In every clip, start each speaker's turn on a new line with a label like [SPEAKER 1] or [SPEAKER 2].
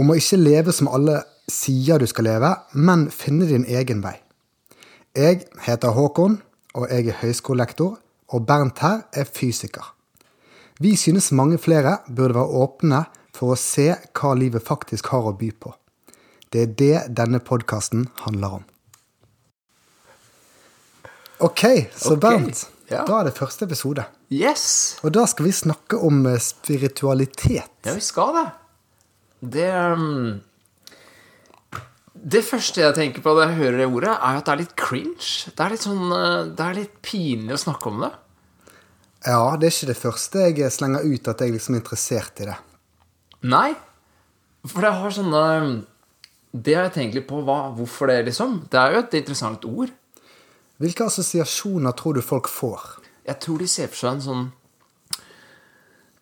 [SPEAKER 1] Om å ikke leve som alle sier du skal leve, men finne din egen vei. Jeg heter Håkon, og jeg er høyskolelektor, og Bernt her er fysiker. Vi synes mange flere burde være åpne for å se hva livet faktisk har å by på. Det er det denne podkasten handler om. Ok, så
[SPEAKER 2] Ok,
[SPEAKER 1] Bernt,
[SPEAKER 2] ja.
[SPEAKER 1] da er det første episode.
[SPEAKER 2] Yes!
[SPEAKER 1] Og da skal vi snakke om eh, spiritualitet.
[SPEAKER 2] Ja, vi skal det. Det um, Det første jeg tenker på når jeg hører det ordet, er jo at det er litt cringe. Det er litt sånn eh, Det er litt pinlig å snakke om det.
[SPEAKER 1] Ja, det er ikke det første jeg slenger ut at jeg liksom er interessert i det.
[SPEAKER 2] Nei. For det har sånne um, Det har jeg tenkt litt på. Hva, hvorfor det, liksom? Det er jo et interessant ord.
[SPEAKER 1] Hvilke assosiasjoner tror du folk får?
[SPEAKER 2] Jeg tror de ser for seg en sånn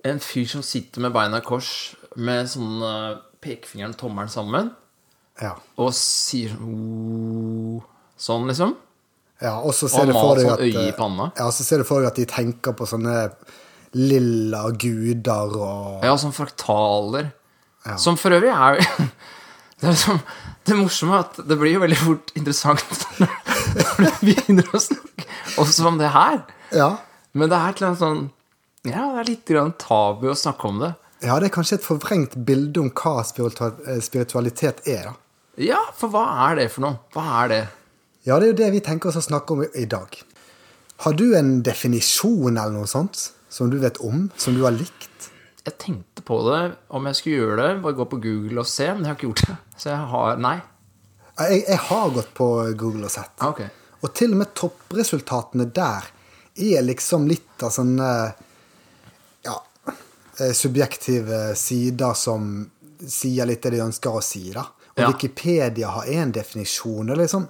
[SPEAKER 2] En fyr som sitter med beina i kors, med sånn eh, pekefingeren og tommelen sammen,
[SPEAKER 1] Ja,
[SPEAKER 2] og sier «Oh», sånn, liksom.
[SPEAKER 1] ja og så
[SPEAKER 2] Og
[SPEAKER 1] ser du
[SPEAKER 2] mal
[SPEAKER 1] for deg
[SPEAKER 2] sånn
[SPEAKER 1] at eh,
[SPEAKER 2] øye i panna.
[SPEAKER 1] Ja, så ser du for deg at de tenker på sånne lilla guder og
[SPEAKER 2] Ja, sånn fraktaler.
[SPEAKER 1] Ja.
[SPEAKER 2] Som for øvrig er Det er liksom Det morsomme er at det blir jo veldig fort interessant når du begynner å snakke også om det her.
[SPEAKER 1] Ja.
[SPEAKER 2] Men det er et eller annet sånn Ja, det er litt grann tabu å snakke om det.
[SPEAKER 1] Ja, det er kanskje et forvrengt bilde om hva spiritua- eh, spiritualitet er, da.
[SPEAKER 2] Ja, for hva er det for noe? Hva er det?
[SPEAKER 1] Ja, det er jo det vi tenker oss å snakke om i- i dag. Har du en definisjon eller noe sånt som du vet om, som du har likt?
[SPEAKER 2] Jeg tenkte på det, om jeg skulle gjøre det, bare gå på Google og se, men jeg har ikke gjort det. Så jeg har Nei.
[SPEAKER 1] Ja, Jeg, jeg har gått på Google og sett.
[SPEAKER 2] Ah, ok.
[SPEAKER 1] Og til og med toppresultatene der er liksom litt av sånne ja, eh, subjektive sider som sier litt det de ønsker å si. da. Og
[SPEAKER 2] Ja.
[SPEAKER 1] Wikipedia har én definisjon. og liksom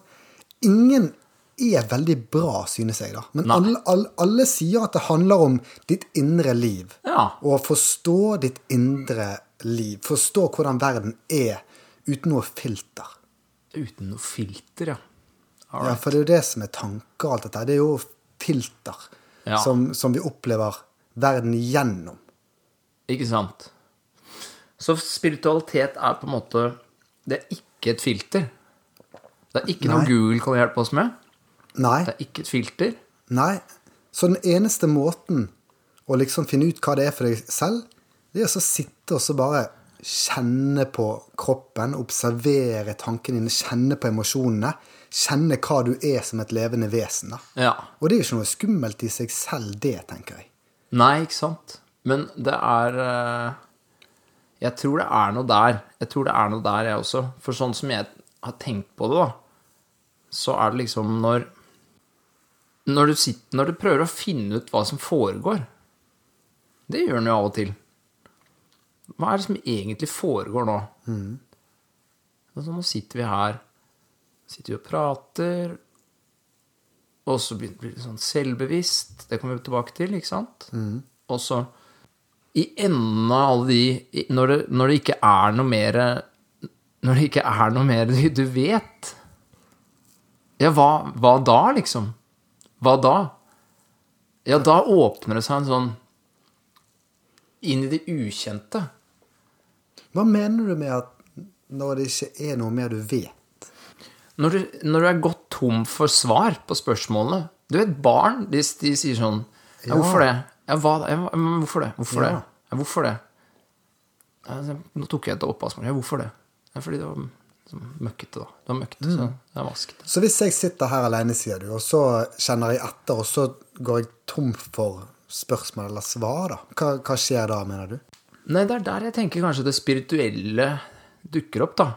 [SPEAKER 1] Ingen er veldig bra, synes jeg. da. Men
[SPEAKER 2] Nei.
[SPEAKER 1] alle, alle, alle sier at det handler om ditt indre liv.
[SPEAKER 2] Ja.
[SPEAKER 1] Og å forstå ditt indre liv. Forstå hvordan verden er uten noe filter.
[SPEAKER 2] Uten noe filter, ja.
[SPEAKER 1] Ja, for det er jo det som er tanker og alt dette. Det er jo filter
[SPEAKER 2] Ja.
[SPEAKER 1] som, som vi opplever verden gjennom.
[SPEAKER 2] Ikke sant? Så spiritualitet er på en måte Det er ikke et filter. Det er ikke noe Google kan hjelpe oss med.
[SPEAKER 1] Nei,
[SPEAKER 2] Det er ikke et filter.
[SPEAKER 1] nei. Så den eneste måten å liksom finne ut hva det er for deg selv, det er å så sitte og så bare kjenne på kroppen, observere tankene dine, kjenne på emosjonene, kjenne hva du er som et levende vesen. da.
[SPEAKER 2] Ja.
[SPEAKER 1] Og det er jo ikke noe skummelt i seg selv, det, tenker jeg.
[SPEAKER 2] Nei, ikke sant? Men det er eh, Jeg tror det er noe der. Jeg tror det er noe der, jeg også. For sånn som jeg har tenkt på det, da, så er det liksom når Når du, sitter, når du prøver å finne ut hva som foregår Det gjør en jo av og til. Hva er det som egentlig foregår nå? Altså, nå sitter vi her, sitter vi og prater, og så blir blir det sånn selvbevisst. Det kommer vi tilbake til, ikke sant? Og så i enden av alle de i- Når det, når det ikke er noe mer Når det ikke er noe mer du, du vet Ja, hva, hva da, liksom? Hva da? Ja, da åpner det seg en sånn Inn i det ukjente.
[SPEAKER 1] Hva mener du med at når det ikke er noe mer du vet?
[SPEAKER 2] Når du, når du er gått tom for svar på spørsmålene Du vet, barn de, de sier sånn ja, 'Hvorfor det?' Ja, hva, da? ja, men 'Hvorfor det?' Hvorfor det?
[SPEAKER 1] Ja.
[SPEAKER 2] Ja, hvorfor det? Ja, så- nå tok jeg et oppvaskmål. Ja, hvorfor det? Ja, fordi det var liksom, møkkete, da. Det var møkkete,
[SPEAKER 1] Mm.
[SPEAKER 2] så jeg vasket.
[SPEAKER 1] Så hvis jeg sitter her alene, sier du, og så kjenner jeg etter, og så går jeg tom for spørsmål eller svar, da. Hva, hva skjer da, mener du?
[SPEAKER 2] Nei, det er der jeg tenker kanskje det spirituelle dukker opp, da.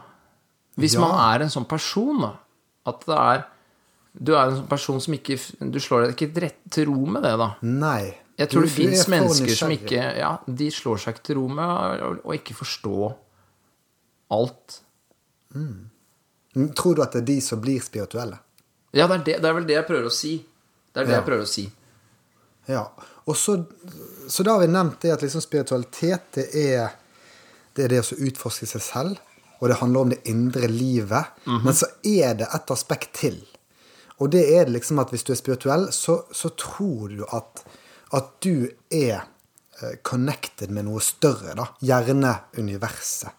[SPEAKER 2] Hvis
[SPEAKER 1] Ja.
[SPEAKER 2] man er en sånn person, da. At det er Du er en sånn person som ikke Du slår deg ikke rett til ro med det, da.
[SPEAKER 1] Nei.
[SPEAKER 2] Jeg tror
[SPEAKER 1] Du-
[SPEAKER 2] det
[SPEAKER 1] du er
[SPEAKER 2] fins
[SPEAKER 1] for
[SPEAKER 2] mennesker som
[SPEAKER 1] nysgjerrig.
[SPEAKER 2] ikke ja, De slår seg ikke til ro med å- å ikke forstå alt.
[SPEAKER 1] Men Tror du at det er de som blir spirituelle?
[SPEAKER 2] Ja, det er, det, det er vel det jeg prøver å si. Det er det
[SPEAKER 1] Ja.
[SPEAKER 2] jeg prøver å si.
[SPEAKER 1] Ja. Og så, så da har vi nevnt det at liksom spiritualitet, det er det, er det å så utforske seg selv, og det handler om det indre livet. Men så er det et aspekt til. Og det er liksom at hvis du er spirituell, så, så tror du at, at du er eh, connected med noe større, da. Gjerne universet.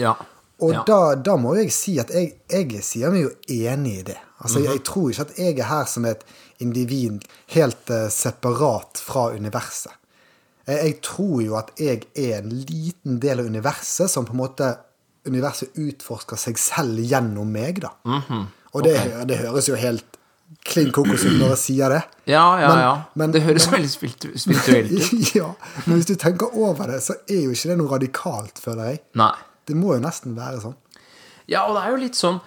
[SPEAKER 2] Ja.
[SPEAKER 1] Og
[SPEAKER 2] ja.
[SPEAKER 1] da, da må jeg si at jeg, jeg sier meg jo enig i det. Altså,
[SPEAKER 2] Mhm.
[SPEAKER 1] jeg, jeg tror ikke at jeg er her som et individ helt eh, separat fra universet. Jeg, jeg tror jo at jeg er en liten del av universet som på en måte universet utforsker seg selv gjennom meg, da.
[SPEAKER 2] Mhm.
[SPEAKER 1] Og det, hø- det høres jo helt klin kokos ut når jeg sier det.
[SPEAKER 2] ja, ja,
[SPEAKER 1] Men-
[SPEAKER 2] ja.
[SPEAKER 1] men-
[SPEAKER 2] det høres veldig spiritu- spirituelt ut.
[SPEAKER 1] ja, men hvis du tenker over det, så er jo ikke det noe radikalt, føler jeg.
[SPEAKER 2] Nei.
[SPEAKER 1] Det må jo nesten være sånn.
[SPEAKER 2] Ja, og det er jo litt sånn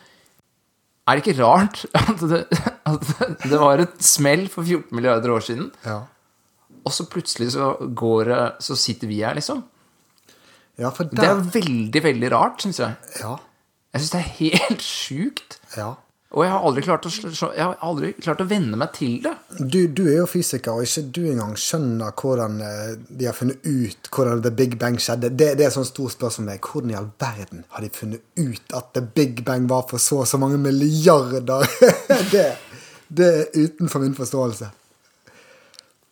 [SPEAKER 2] Er det ikke rart at det, at det var et smell for 14 milliarder år siden,
[SPEAKER 1] Ja.
[SPEAKER 2] og så plutselig så går det- Så sitter vi her, liksom?
[SPEAKER 1] Ja, for
[SPEAKER 2] Det er
[SPEAKER 1] der,
[SPEAKER 2] veldig, veldig rart, syns jeg.
[SPEAKER 1] ja,
[SPEAKER 2] Jeg syns det er helt sjukt.
[SPEAKER 1] ja.
[SPEAKER 2] Og jeg har aldri klart å, sl- sl- jeg har aldri klart å venne meg til det.
[SPEAKER 1] Du, du er jo fysiker, og ikke du engang skjønner hvordan eh, de har funnet ut hvordan The Big Bang skjedde. Det, det er et sånt stort spørsmål. det er, Hvordan i all verden har de funnet ut at The Big Bang var for så og så mange milliarder? det, det er utenfor min forståelse.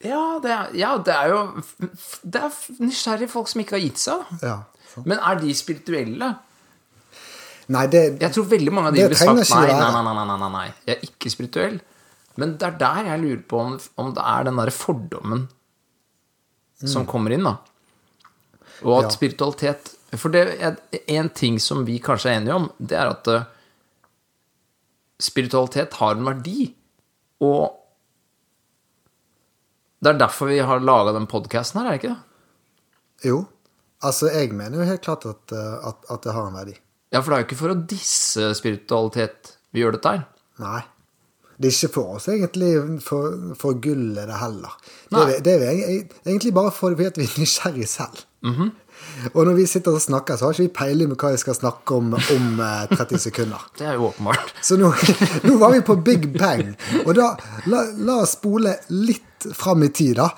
[SPEAKER 2] Ja, det er, ja, det er jo f- f- Det er f- nysgjerrige folk som ikke har gitt seg. da.
[SPEAKER 1] Ja.
[SPEAKER 2] Men er de spirituelle?
[SPEAKER 1] Nei, det
[SPEAKER 2] Jeg tror veldig mange av de
[SPEAKER 1] Det
[SPEAKER 2] ville
[SPEAKER 1] trenger ikke
[SPEAKER 2] sagt nei,
[SPEAKER 1] det være.
[SPEAKER 2] nei, nei, nei, nei, nei, nei, jeg er ikke spirituell. Men det er der jeg lurer på om, om det er den derre fordommen som kommer inn, da. Og at
[SPEAKER 1] Mm. Ja.
[SPEAKER 2] spiritualitet For det er en ting som vi kanskje er enige om, det er at eh, spiritualitet har en verdi. Og det er derfor vi har laga den podkasten her, er det ikke det?
[SPEAKER 1] Jo. Altså, jeg mener jo helt klart at, eh, at, at det har en verdi.
[SPEAKER 2] Ja, for det er jo ikke for å disse spiritualitet vi gjør dette her.
[SPEAKER 1] Nei. Det er ikke for oss egentlig for, for gullet det heller. Det,
[SPEAKER 2] Nei.
[SPEAKER 1] er- det er eg- egentlig bare for at vi er nysgjerrige selv. Og når vi sitter og snakker, så har ikke vi peiling på hva vi skal snakke om om eh, 30 sekunder.
[SPEAKER 2] Det er jo åpenbart.
[SPEAKER 1] Så nå, nå var vi på Big Bang. Og da la, la oss spole litt fram i tid, da.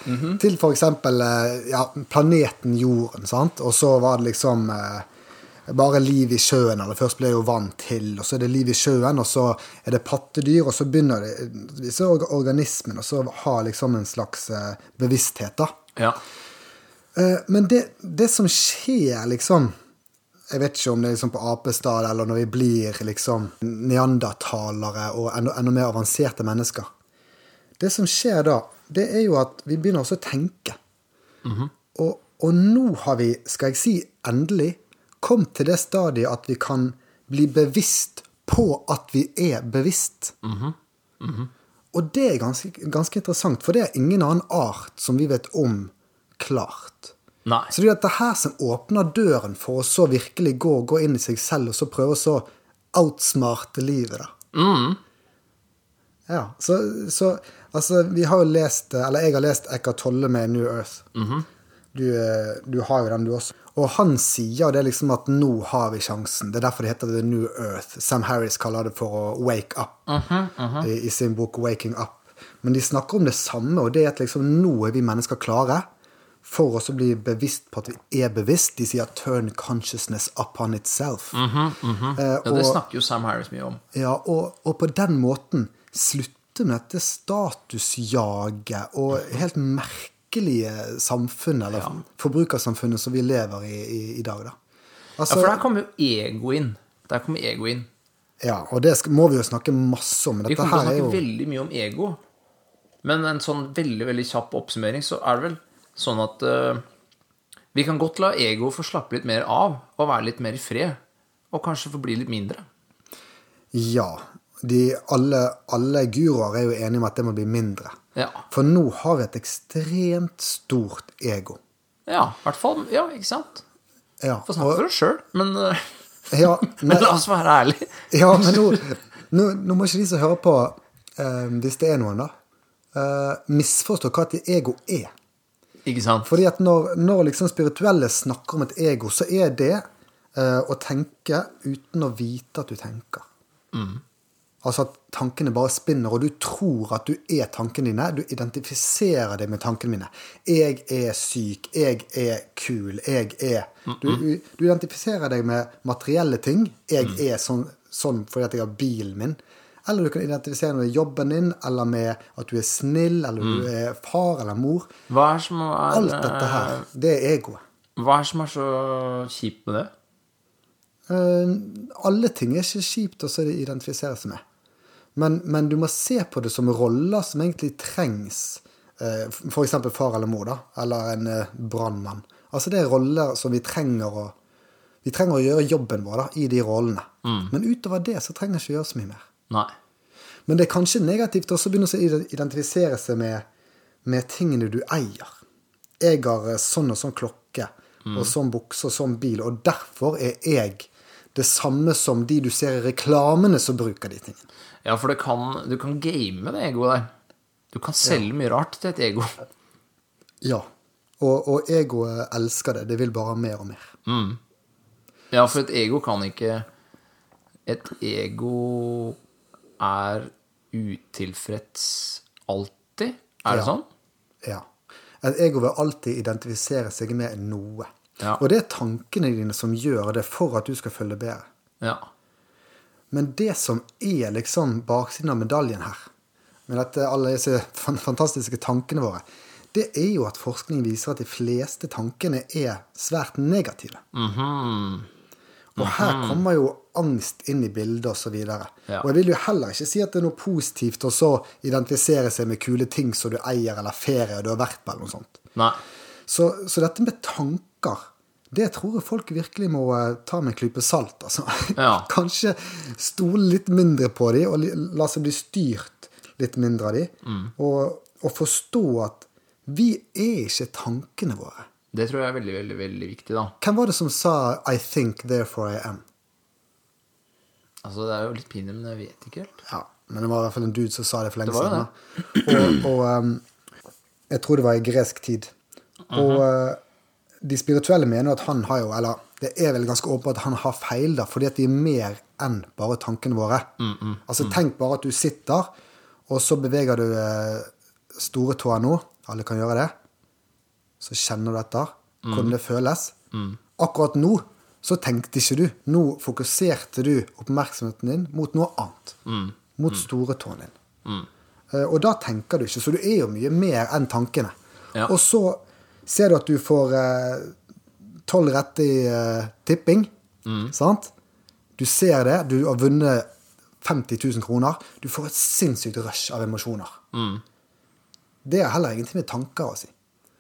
[SPEAKER 1] Til for eksempel eh, ja, planeten Jorden, sant. Og så var det liksom eh, bare liv i sjøen, eller først ble jo vann til, og så er det liv i sjøen, og så er det pattedyr, og så begynner det disse orga- organismene, og så har liksom en slags eh, bevissthet, da.
[SPEAKER 2] Ja.
[SPEAKER 1] Eh, Men det, det som skjer, liksom Jeg vet ikke om det er liksom på Apestad eller når vi blir liksom neandertalere og enda, enda mer avanserte mennesker. Det som skjer da, det er jo at vi begynner også å tenke. og, og nå har vi, skal jeg si endelig, kommet til det stadiet at vi kan bli bevisst på at vi er bevisst. Og det er ganske, ganske interessant, for det er ingen annen art som vi vet om, klart.
[SPEAKER 2] Nei.
[SPEAKER 1] Så det er dette her som åpner døren for å så virkelig gå, gå inn i seg selv og så prøve å så outsmarte livet, da. Ja, så, så altså, vi har jo lest, eller jeg har lest Eckhart Tolle med New Earth. du, eh, du har jo den, du også. Og han sier det liksom at nå har vi sjansen. Det er derfor det heter The New Earth. Sam Harris kaller det for å wake up I, i sin bok Waking Up. Men de snakker om det samme, og det er at liksom nå er vi mennesker klare for oss å bli bevisst på at vi er bevisst. De sier 'turn consciousness upon itself'. Eh,
[SPEAKER 2] Ja, det snakker jo Sam Harris mye om.
[SPEAKER 1] Ja, og, og på den måten slutte med dette statusjaget og helt merkelige samfunnet, eller forbrukersamfunnet som vi lever i i, i dag, da.
[SPEAKER 2] Ja,
[SPEAKER 1] Altså,
[SPEAKER 2] For
[SPEAKER 1] ja,
[SPEAKER 2] der kommer jo ego inn. Der kommer ego inn.
[SPEAKER 1] og det skal, må vi jo snakke masse om.
[SPEAKER 2] Vi
[SPEAKER 1] Dette
[SPEAKER 2] kommer
[SPEAKER 1] her er
[SPEAKER 2] til å snakke
[SPEAKER 1] jo
[SPEAKER 2] veldig mye om ego. Men en sånn veldig veldig kjapp oppsummering, så er det vel sånn at eh, vi kan godt la ego få slappe litt mer av, og være litt mer i fred. Og kanskje få bli litt mindre.
[SPEAKER 1] Ja. De, alle, alle guruer er jo enige om at det må bli mindre.
[SPEAKER 2] Ja.
[SPEAKER 1] For nå har vi et ekstremt stort ego.
[SPEAKER 2] Ja, i hvert fall. Ja, ikke sant?
[SPEAKER 1] Ja,
[SPEAKER 2] Få snakke for oss sjøl, men, eh,
[SPEAKER 1] ja,
[SPEAKER 2] men la oss være ærlige.
[SPEAKER 1] Ja, men nå, nå, nå må ikke de som hører på, eh, hvis det er noen, da, eh, misforstå hva et ego er.
[SPEAKER 2] Ikke sant?
[SPEAKER 1] Fordi at når, når liksom spirituelle snakker om et ego, så er det eh, å tenke uten å vite at du tenker. Altså at tankene bare spinner, og du tror at du er tankene dine. Du identifiserer deg med tankene mine. Jeg er syk. Jeg er kul. Jeg er Du, du identifiserer deg med materielle ting. Jeg er sånn, sånn fordi at jeg har bilen min. Eller du kan identifisere deg med jobben din, eller med at du er snill, eller du er far eller mor.
[SPEAKER 2] Hva er, som er, eh,
[SPEAKER 1] Alt dette her, det er egoet.
[SPEAKER 2] hva er som er så kjipt med det?
[SPEAKER 1] Eh, alle ting er ikke kjipt å så identifisere seg med. Men, men du må se på det som roller som egentlig trengs. Eh, for eksempel far eller mor, da. Eller en eh, brannmann. Altså det er roller som vi trenger å Vi trenger å gjøre jobben vår da, i de rollene. Men utover det så trenger vi ikke gjøre så mye mer.
[SPEAKER 2] Nei.
[SPEAKER 1] Men det er kanskje negativt også å begynne å ide- identifisere seg med, med tingene du eier. Jeg har eh, sånn og sånn klokke,
[SPEAKER 2] Mm.
[SPEAKER 1] og sånn bukse og sånn bil, og derfor er jeg det samme som de du ser i reklamene som bruker de tingene.
[SPEAKER 2] Ja, for det kan, du kan game det egoet der. Du kan selge mye rart til et ego.
[SPEAKER 1] Ja. Og, og egoet elsker det. Det vil bare ha mer og mer.
[SPEAKER 2] Ja, for et ego kan ikke Et ego er utilfreds alltid. Er det
[SPEAKER 1] Ja.
[SPEAKER 2] sånn?
[SPEAKER 1] Ja. Et ego vil alltid identifisere seg med noe.
[SPEAKER 2] Ja.
[SPEAKER 1] Og det er tankene dine som gjør det for at du skal følge bedre.
[SPEAKER 2] Ja.
[SPEAKER 1] Men det som er liksom baksiden av medaljen her, med dette, alle disse fan- fantastiske tankene våre, det er jo at forskning viser at de fleste tankene er svært negative. Og her kommer jo angst inn i bildet og så videre.
[SPEAKER 2] Ja.
[SPEAKER 1] Og jeg vil jo heller ikke si at det er noe positivt å så identifisere seg med kule ting som du eier, eller ferie du har vært på, eller noe sånt.
[SPEAKER 2] Nei.
[SPEAKER 1] Så, så dette med tanker, det tror jeg folk virkelig må eh, ta med en klype salt. Altså.
[SPEAKER 2] Ja.
[SPEAKER 1] Kanskje stole litt mindre på dem, og li- la seg bli styrt litt mindre av dem. Og, og forstå at vi er ikke tankene våre.
[SPEAKER 2] Det tror jeg er veldig, veldig veldig viktig, da.
[SPEAKER 1] Hvem var det som sa 'I think, therefore I am'?
[SPEAKER 2] Altså, Det er jo litt pinlig, men jeg vet ikke helt.
[SPEAKER 1] Ja, men det var i hvert fall en dude som sa det for lenge
[SPEAKER 2] Det var jo
[SPEAKER 1] siden. da. Og, og um, jeg tror det var i gresk tid. Og
[SPEAKER 2] Mhm.
[SPEAKER 1] uh, de spirituelle mener at han har jo, eller det er vel ganske åpenbart at han har feil, da, fordi at de er mer enn bare tankene våre.
[SPEAKER 2] Mhm.
[SPEAKER 1] Altså tenk bare at du sitter, og så beveger du eh, store tåer nå. Alle kan gjøre det. Så kjenner du etter. Hvordan det føles. Akkurat nå så tenkte ikke du. Nå fokuserte du oppmerksomheten din mot noe annet. Mot store tåen din. Eh, Og da tenker du ikke, så du er jo mye mer enn tankene.
[SPEAKER 2] Ja.
[SPEAKER 1] Og så ser du at du får eh, tolv rette i eh, tipping, sant? Du ser det, du har vunnet 50 000 kroner, du får et sinnssykt rush av emosjoner. Det har heller ingenting med tanker å si.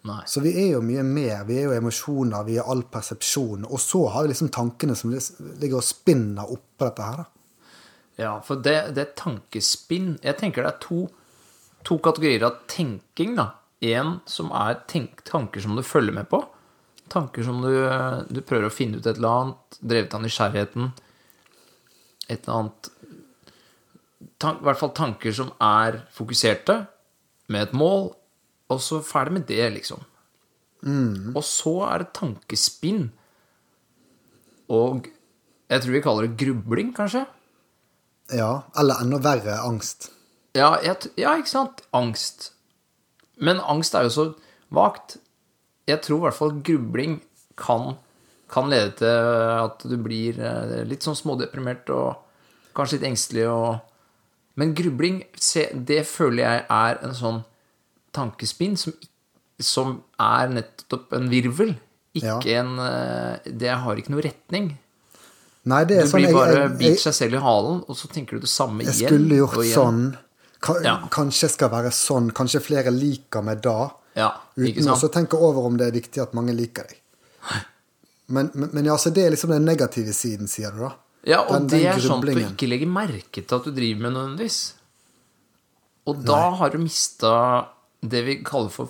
[SPEAKER 2] Nei.
[SPEAKER 1] Så vi er jo mye mer. Vi er jo emosjoner, vi er all persepsjon. Og så har vi liksom tankene som ligger og spinner oppå dette her, da.
[SPEAKER 2] Ja, for det, det er tankespinn. Jeg tenker det er to, to kategorier av tenking, da. En som er tenk, tanker som du følger med på. Tanker som du, du prøver å finne ut et eller annet, drevet av nysgjerrigheten. Et eller annet tan, I hvert fall tanker som er fokuserte, med et mål, og så ferdig med det, liksom. Og så er det tankespinn. Og jeg tror vi kaller det grubling, kanskje?
[SPEAKER 1] Ja, eller enda verre angst.
[SPEAKER 2] Ja, jeg, t- ja, ikke sant? Angst. Men angst er jo så vagt. Jeg tror i hvert fall grubling kan, kan lede til at du blir eh, litt sånn smådeprimert og kanskje litt engstelig og Men grubling, se, det føler jeg er en sånn tankespinn som, ikk- som er nettopp en virvel. Ikke
[SPEAKER 1] Ja.
[SPEAKER 2] en eh, Det har ikke noe retning.
[SPEAKER 1] Nei, det
[SPEAKER 2] Du
[SPEAKER 1] er sånn
[SPEAKER 2] blir bare
[SPEAKER 1] jeg, jeg,
[SPEAKER 2] biter seg selv i halen, og så tenker du det samme
[SPEAKER 1] jeg
[SPEAKER 2] igjen.
[SPEAKER 1] skulle gjort
[SPEAKER 2] og igjen.
[SPEAKER 1] sånn. Ka,
[SPEAKER 2] Ja.
[SPEAKER 1] Kanskje skal være sånn. Kanskje flere liker meg da.
[SPEAKER 2] Ja, ikke
[SPEAKER 1] uten
[SPEAKER 2] sant?
[SPEAKER 1] å så tenke over om det er viktig at mange liker deg. Men, men, men ja, så det er liksom den negative siden, sier du da?
[SPEAKER 2] Ja, og
[SPEAKER 1] Den-
[SPEAKER 2] det
[SPEAKER 1] den
[SPEAKER 2] er sånn at du
[SPEAKER 1] grublingen.
[SPEAKER 2] ikke legger merke til at du driver med nødvendigvis. Og da har du mista det vi kaller for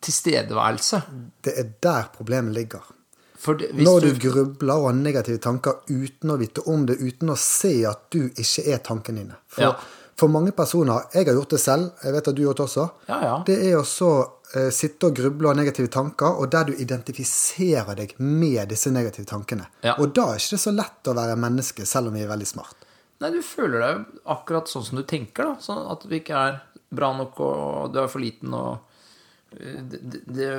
[SPEAKER 2] tilstedeværelse.
[SPEAKER 1] Det er der problemet ligger.
[SPEAKER 2] For det, hvis
[SPEAKER 1] Når du
[SPEAKER 2] du,
[SPEAKER 1] grubler og har negative tanker uten å vite om det, uten å se at du ikke er tankene dine. For,
[SPEAKER 2] Ja.
[SPEAKER 1] for mange personer Jeg har gjort det selv, jeg vet at du har gjort det også.
[SPEAKER 2] Ja, ja.
[SPEAKER 1] Det er å så eh, sitte og gruble av negative tanker, og der du identifiserer deg med disse negative tankene.
[SPEAKER 2] Ja.
[SPEAKER 1] Og da er ikke det så lett å være menneske, selv om vi er veldig smart.
[SPEAKER 2] Nei, du føler deg jo akkurat sånn som du tenker, da. Sånn at du ikke er bra nok, og du er for liten, og eh, det, det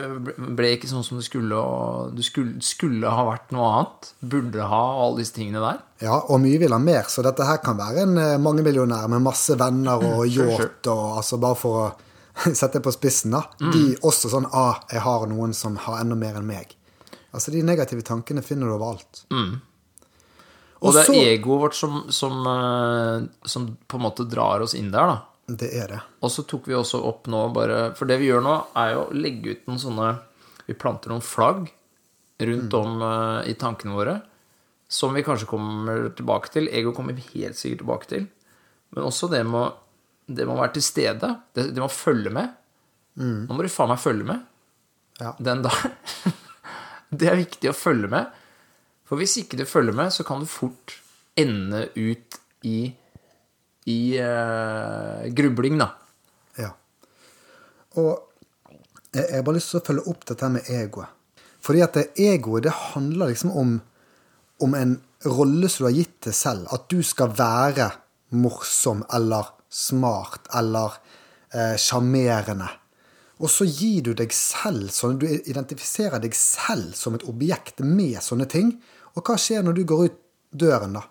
[SPEAKER 2] ble ikke sånn som det skulle, og du skulle, skulle ha vært noe annet. Burde ha, og alle disse tingene der.
[SPEAKER 1] Ja, og mye vil ha mer, så dette her kan være en eh, mangemillionær med masse venner og
[SPEAKER 2] Mm,
[SPEAKER 1] yacht og altså bare for å sette det på spissen, da.
[SPEAKER 2] Mm.
[SPEAKER 1] De også sånn ah, jeg har noen som har enda mer enn meg. Altså, de negative tankene finner du overalt.
[SPEAKER 2] Mm. Og,
[SPEAKER 1] Og
[SPEAKER 2] det er
[SPEAKER 1] så-
[SPEAKER 2] egoet vårt som, som, eh, som på en måte drar oss inn der, da.
[SPEAKER 1] Det er det.
[SPEAKER 2] Og så tok vi også opp nå bare For det vi gjør nå, er jo å legge ut noen sånne Vi planter noen flagg rundt om eh, i tankene våre. Som vi kanskje kommer tilbake til. Ego kommer vi helt sikkert tilbake til. Men også det med å det må være til stede. Det, det må følge med. Nå må du faen meg følge med.
[SPEAKER 1] Ja.
[SPEAKER 2] Den der. det er viktig å følge med. For hvis ikke du følger med, så kan du fort ende ut i, i eh, grubling, da.
[SPEAKER 1] Ja. Og jeg jeg har bare lyst til å følge opp dette med egoet. Fordi at det egoet, det handler liksom om, om en rolle som du har gitt deg selv. At du skal være morsom eller smart eller eh, sjarmerende. Og så gir du deg selv sånn, du identifiserer deg selv som et objekt med sånne ting. Og hva skjer når du går ut døren, da?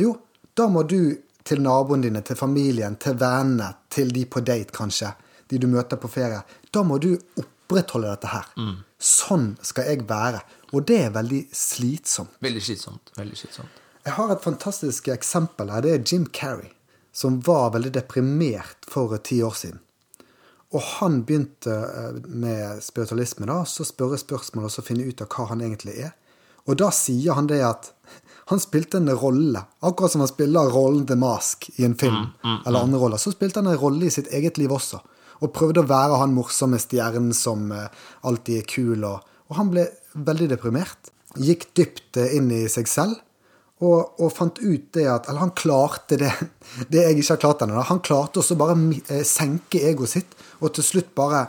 [SPEAKER 1] Jo, da må du til naboene dine, til familien, til vennene, til de på date, kanskje. De du møter på ferie. Da må du opprettholde dette her. Sånn skal jeg være. Og det er veldig slitsomt.
[SPEAKER 2] Veldig slitsomt. veldig slitsomt.
[SPEAKER 1] Jeg har et fantastisk eksempel her. Det er Jim Carrey, som var veldig deprimert for ti år siden. Og han begynte eh, med spiritualisme, da, så spørre spørsmål og så finne ut av hva han egentlig er. Og da sier han det at han spilte en rolle, akkurat som han spiller rollen til Mask i en film, eller andre roller, så spilte han en rolle i sitt eget liv også. Og prøvde å være han morsomme stjernen som eh, alltid er kul, og, og han ble veldig deprimert. Gikk dypt eh, inn i seg selv. Og, og fant ut det at Eller han klarte det det jeg ikke har klart ennå. da. Han klarte også bare mi- eh, senke egoet sitt, og til slutt bare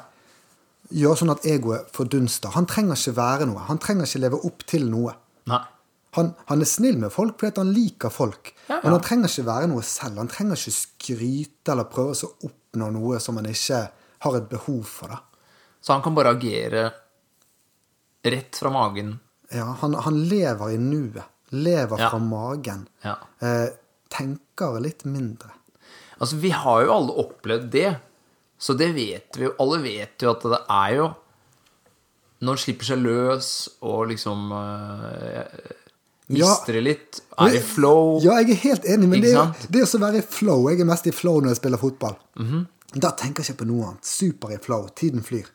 [SPEAKER 1] gjøre sånn at egoet fordunster. Han trenger ikke være noe. Han trenger ikke leve opp til noe.
[SPEAKER 2] Nei.
[SPEAKER 1] Han, han er snill med folk fordi at han liker folk.
[SPEAKER 2] Ja, ja.
[SPEAKER 1] Men han trenger ikke være noe selv. Han trenger ikke skryte eller prøve å oppnå noe som han ikke har et behov for. da.
[SPEAKER 2] Så han kan bare agere rett fra magen.
[SPEAKER 1] Ja, han, han lever i nuet. Lever
[SPEAKER 2] Ja.
[SPEAKER 1] fra magen.
[SPEAKER 2] Ja.
[SPEAKER 1] Eh, tenker litt mindre.
[SPEAKER 2] Altså, vi har jo alle opplevd det, så det vet vi jo. Alle vet jo at det er jo Når en slipper seg løs og liksom øh, mister det litt, er i flow
[SPEAKER 1] Ja, jeg er helt enig, men
[SPEAKER 2] Ikke
[SPEAKER 1] det er,
[SPEAKER 2] sant?
[SPEAKER 1] jo- det er også å være i flow. Jeg er mest i flow når jeg spiller fotball. Da tenker jeg ikke på noe annet. Super i flow. Tiden flyr.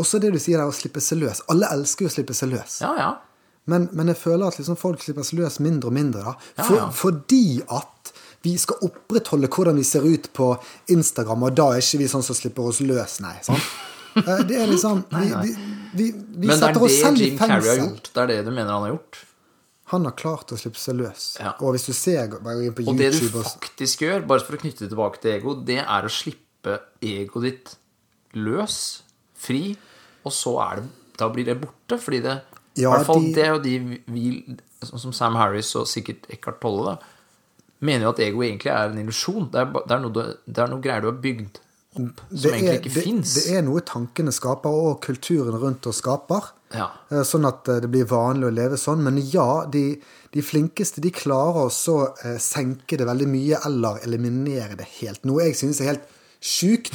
[SPEAKER 1] Og så det du sier der, å slippe seg løs. Alle elsker jo å slippe seg løs.
[SPEAKER 2] Ja, ja.
[SPEAKER 1] Men, men jeg føler at liksom folk slipper seg løs mindre og mindre. da. For,
[SPEAKER 2] ja.
[SPEAKER 1] Fordi at vi skal opprettholde hvordan vi ser ut på Instagram, og da er ikke vi sånn som slipper oss løs, nei. sant? Eh, Det er liksom Vi, vi, vi, vi
[SPEAKER 2] Men det
[SPEAKER 1] setter
[SPEAKER 2] er
[SPEAKER 1] oss selv
[SPEAKER 2] det
[SPEAKER 1] i
[SPEAKER 2] Jim Carrey har
[SPEAKER 1] fengsel.
[SPEAKER 2] gjort. Det er det du mener han har gjort.
[SPEAKER 1] Han har klart å slippe seg løs.
[SPEAKER 2] Ja.
[SPEAKER 1] Og hvis du ser bare inn på
[SPEAKER 2] Og det du
[SPEAKER 1] YouTube og
[SPEAKER 2] faktisk gjør, bare for å knytte det tilbake til ego, det er å slippe egoet ditt løs, fri, og så er det Da blir det borte, fordi det I
[SPEAKER 1] Ja,
[SPEAKER 2] hvert fall
[SPEAKER 1] de-
[SPEAKER 2] det er jo de vi Sånn som Sam Harris og sikkert Eckhart Tolle, da. Mener jo at ego egentlig er en illusjon. Det, er ba- det, er noe du- det er noe greier du har bygd opp som egentlig ikke
[SPEAKER 1] det,
[SPEAKER 2] fins.
[SPEAKER 1] det er noe tankene skaper, og kulturen rundt oss skaper.
[SPEAKER 2] Ja.
[SPEAKER 1] Eh, Sånn at eh, det blir vanlig å leve sånn. Men ja, de, de flinkeste de klarer å så eh, senke det veldig mye eller eliminere det helt. Noe jeg synes er helt sjukt.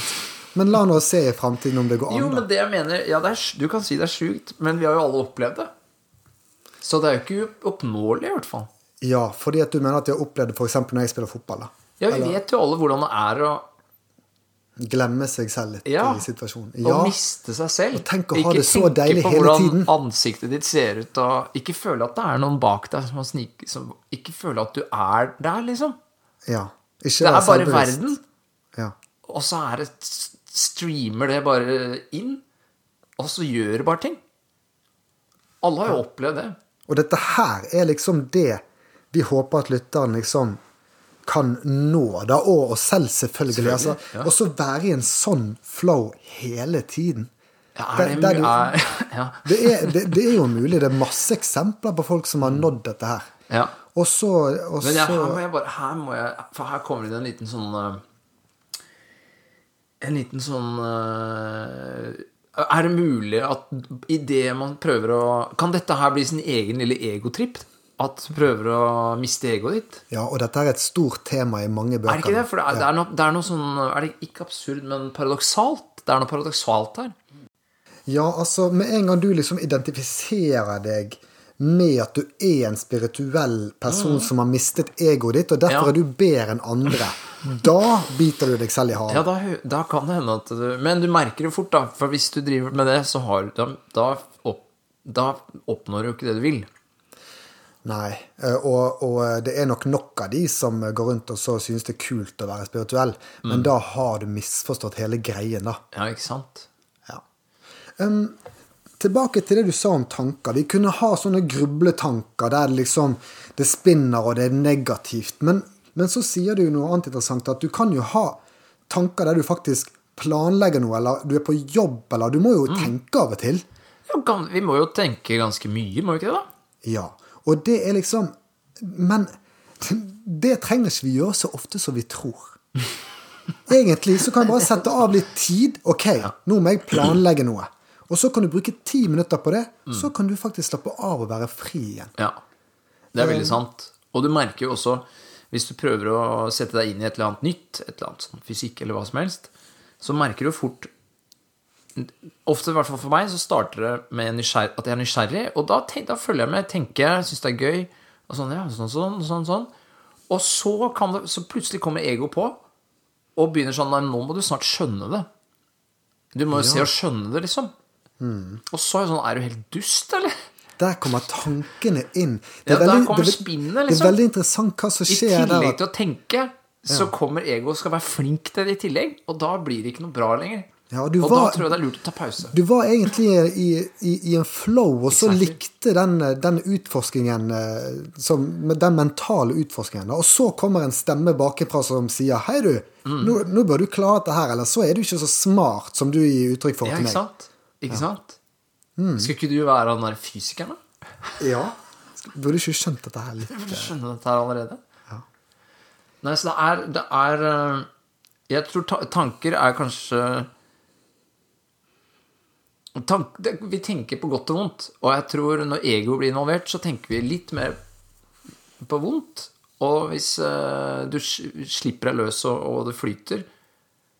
[SPEAKER 1] Men la nå se i framtiden om det går an.
[SPEAKER 2] Jo,
[SPEAKER 1] da.
[SPEAKER 2] men det jeg mener ja, det er, Du kan si det er sjukt, men vi har jo alle opplevd det. Så det er jo ikke oppnåelig, i hvert fall.
[SPEAKER 1] Ja, fordi at du mener at jeg har opplevd det f.eks. når jeg spiller fotball. da.
[SPEAKER 2] Ja, vi vet jo alle hvordan det er å
[SPEAKER 1] Glemme seg selv litt
[SPEAKER 2] Ja.
[SPEAKER 1] i situasjonen.
[SPEAKER 2] Å
[SPEAKER 1] Ja,
[SPEAKER 2] miste seg selv.
[SPEAKER 1] Og tenk å ha det så deilig
[SPEAKER 2] på
[SPEAKER 1] hele
[SPEAKER 2] hvordan
[SPEAKER 1] tiden.
[SPEAKER 2] ansiktet ditt ser ut, og ikke føle at det er noen bak deg som har snik... Som ikke føle at du er der, liksom.
[SPEAKER 1] ja. Ikke
[SPEAKER 2] Det
[SPEAKER 1] være
[SPEAKER 2] er bare
[SPEAKER 1] selvbevisst.
[SPEAKER 2] verden,
[SPEAKER 1] Ja.
[SPEAKER 2] og så er det streamer det bare inn, og så gjør det bare ting. Alle har jo opplevd det.
[SPEAKER 1] Og dette her er liksom det vi håper at lytteren liksom kan nå, da, og oss selv, selvfølgelig.
[SPEAKER 2] Selvfølgelig,
[SPEAKER 1] altså.
[SPEAKER 2] ja.
[SPEAKER 1] Og så være i en sånn flow hele tiden.
[SPEAKER 2] Ja,
[SPEAKER 1] Der-
[SPEAKER 2] er det
[SPEAKER 1] der
[SPEAKER 2] mye?
[SPEAKER 1] du-
[SPEAKER 2] Er, ja.
[SPEAKER 1] Det er, det, det er jo mulig. Det er masse eksempler på folk som har nådd dette her.
[SPEAKER 2] Ja.
[SPEAKER 1] Og så, og
[SPEAKER 2] Men ja, her
[SPEAKER 1] så
[SPEAKER 2] må jeg bare Her må jeg For her kommer det en liten sånn eh, En liten sånn eh, Er det mulig at idet man prøver å Kan dette her bli sin egen lille egotripp? At du prøver å miste egoet ditt?
[SPEAKER 1] Ja, og dette er et stort tema i mange bøker.
[SPEAKER 2] Er det ikke det? For det er, det er, noe, det er noe sånn Er det ikke absurd, men paradoksalt? Det er noe paradoksalt her.
[SPEAKER 1] Ja, altså, med en gang du liksom identifiserer deg med at du er en spirituell person som har mistet egoet ditt, og derfor
[SPEAKER 2] Mm. Ja.
[SPEAKER 1] er du bedre enn andre, da biter du deg selv i
[SPEAKER 2] Ja,
[SPEAKER 1] halen.
[SPEAKER 2] da, hø- da kan det hende at du Men du merker det fort, da. For hvis du driver med det, så har du da, da, opp, da oppnår du jo ikke det du vil.
[SPEAKER 1] Nei. eh, Og, og det er nok nok av de som går rundt og så synes det er kult å være spirituell,
[SPEAKER 2] Mm.
[SPEAKER 1] men da har du misforstått hele greien, da.
[SPEAKER 2] Ja, ikke sant?
[SPEAKER 1] Ja. Em, tilbake til det du sa om tanker. Vi kunne ha sånne grubletanker der det liksom det spinner og det er negativt. Men, men så sier du jo noe annet interessant, at du kan jo ha tanker der du faktisk planlegger noe, eller du er på jobb, eller du må jo tenke av og til.
[SPEAKER 2] Ja, gan- vi må jo tenke ganske mye, må vi ikke det? da?
[SPEAKER 1] Ja. Og det er liksom Men det trenger ikke vi gjøre så ofte som vi tror. Egentlig så kan jeg bare sette av litt tid. Ok, nå må jeg planlegge noe. Og så kan du bruke ti minutter på det. Så kan du faktisk slappe av og være fri igjen.
[SPEAKER 2] Ja. Det er veldig sant. Og du merker jo også, hvis du prøver å sette deg inn i et eller annet nytt, et eller annet sånn fysikk eller hva som helst, så merker du fort Ofte, i hvert fall for meg, så starter det med nysgjerr- at jeg er nysgjerrig, og da, ten- da følger jeg med, tenker jeg, syns det er gøy, og sånn, ja, sånn, sånn, sånn, sånn. Og så, kan det, så plutselig kommer ego på, og begynner sånn Nei, nå må du snart skjønne det. Du må jo se og skjønne det, liksom. Og så er det sånn Er du helt dust, eller?
[SPEAKER 1] Der kommer tankene inn.
[SPEAKER 2] Ja, der
[SPEAKER 1] veldig-
[SPEAKER 2] kommer
[SPEAKER 1] det er-
[SPEAKER 2] spinnet,
[SPEAKER 1] Det
[SPEAKER 2] liksom.
[SPEAKER 1] er veldig interessant hva som
[SPEAKER 2] I
[SPEAKER 1] skjer der.
[SPEAKER 2] tillegg
[SPEAKER 1] At,
[SPEAKER 2] til å tenke, så kommer ego og skal være flink til det i tillegg. Og da blir det ikke noe bra lenger.
[SPEAKER 1] Ja,
[SPEAKER 2] og
[SPEAKER 1] du
[SPEAKER 2] da
[SPEAKER 1] var-
[SPEAKER 2] tror jeg det er lurt å ta pause.
[SPEAKER 1] du var egentlig i, i, i en flow, og så
[SPEAKER 2] Exactly.
[SPEAKER 1] likte den, eh, den utforskingen eh, som, Den mentale utforskingen. da. Og så kommer en stemme bakifra som sier 'Hei, du,
[SPEAKER 2] Mm.
[SPEAKER 1] nå, nå bør du klare dette her', eller så er du ikke så smart som du gir uttrykk for
[SPEAKER 2] Ja,
[SPEAKER 1] til meg. Mm.
[SPEAKER 2] ikke sant? Ikke sant? Skal ikke du være han der fysikeren, da?
[SPEAKER 1] Ja. Burde ikke skjønt dette her litt.
[SPEAKER 2] Du skjønner dette her allerede? Nei, så det er, det er eh, Jeg tror ta tanker er kanskje tank, det, Vi tenker på godt og vondt, og jeg tror når ego blir involvert, så tenker vi litt mer på vondt. Og hvis eh, du s- slipper deg løs og, og det flyter,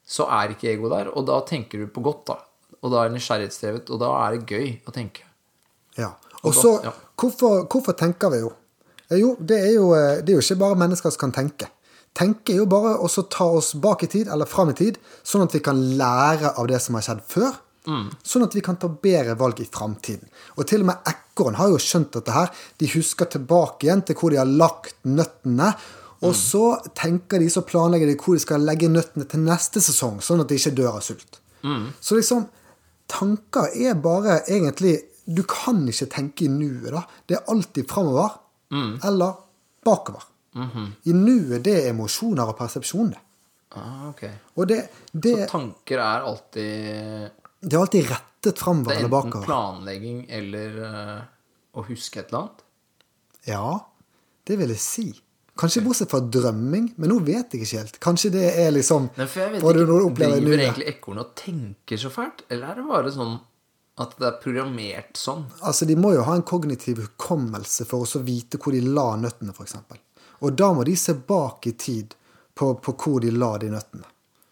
[SPEAKER 2] så er ikke ego der. Og da tenker du på godt, da. Og da er nysgjerrighetsdrevet, og da er det gøy å tenke.
[SPEAKER 1] Ja. Og
[SPEAKER 2] da-
[SPEAKER 1] så,
[SPEAKER 2] ja.
[SPEAKER 1] hvorfor, hvorfor tenker vi jo? Eh, Jo, det er jo, eh, det er jo ikke bare mennesker som kan tenke. Tenke er jo bare å så ta oss bak i tid, eller fram i tid, sånn at vi kan lære av det som har skjedd før.
[SPEAKER 2] Mm.
[SPEAKER 1] Sånn at vi kan ta bedre valg i framtiden. Og til og med ekorn har jo skjønt dette her. De husker tilbake igjen til hvor de har lagt nøttene.
[SPEAKER 2] Mm.
[SPEAKER 1] Og så tenker de så planlegger de hvor de skal legge nøttene til neste sesong, sånn at de ikke dør av sult.
[SPEAKER 2] Mm.
[SPEAKER 1] Så liksom, tanker er bare egentlig Du kan ikke tenke i nuet, da. Det er alltid framover
[SPEAKER 2] Mm.
[SPEAKER 1] eller bakover.
[SPEAKER 2] Mhm.
[SPEAKER 1] I nuet, det er emosjoner og persepsjon, det.
[SPEAKER 2] Ah, ok.
[SPEAKER 1] Og det, det,
[SPEAKER 2] Så tanker er alltid
[SPEAKER 1] det er alltid rettet
[SPEAKER 2] Det
[SPEAKER 1] framover
[SPEAKER 2] er
[SPEAKER 1] eller
[SPEAKER 2] enten
[SPEAKER 1] bakover.
[SPEAKER 2] planlegging eller eh, å huske et eller annet.
[SPEAKER 1] Ja, det vil jeg si. Kanskje bortsett fra drømming, men nå vet jeg ikke helt. Kanskje det er liksom
[SPEAKER 2] Nei, for jeg vet
[SPEAKER 1] hva du
[SPEAKER 2] ikke,
[SPEAKER 1] nå opplever i
[SPEAKER 2] Driver
[SPEAKER 1] nuet.
[SPEAKER 2] egentlig ekornet og tenker så fælt? Eller er det bare sånn at det er programmert sånn?
[SPEAKER 1] Altså, De må jo ha en kognitiv hukommelse for å så vite hvor de la nøttene, f.eks. Og da må de se bak i tid på, på hvor de la de nøttene.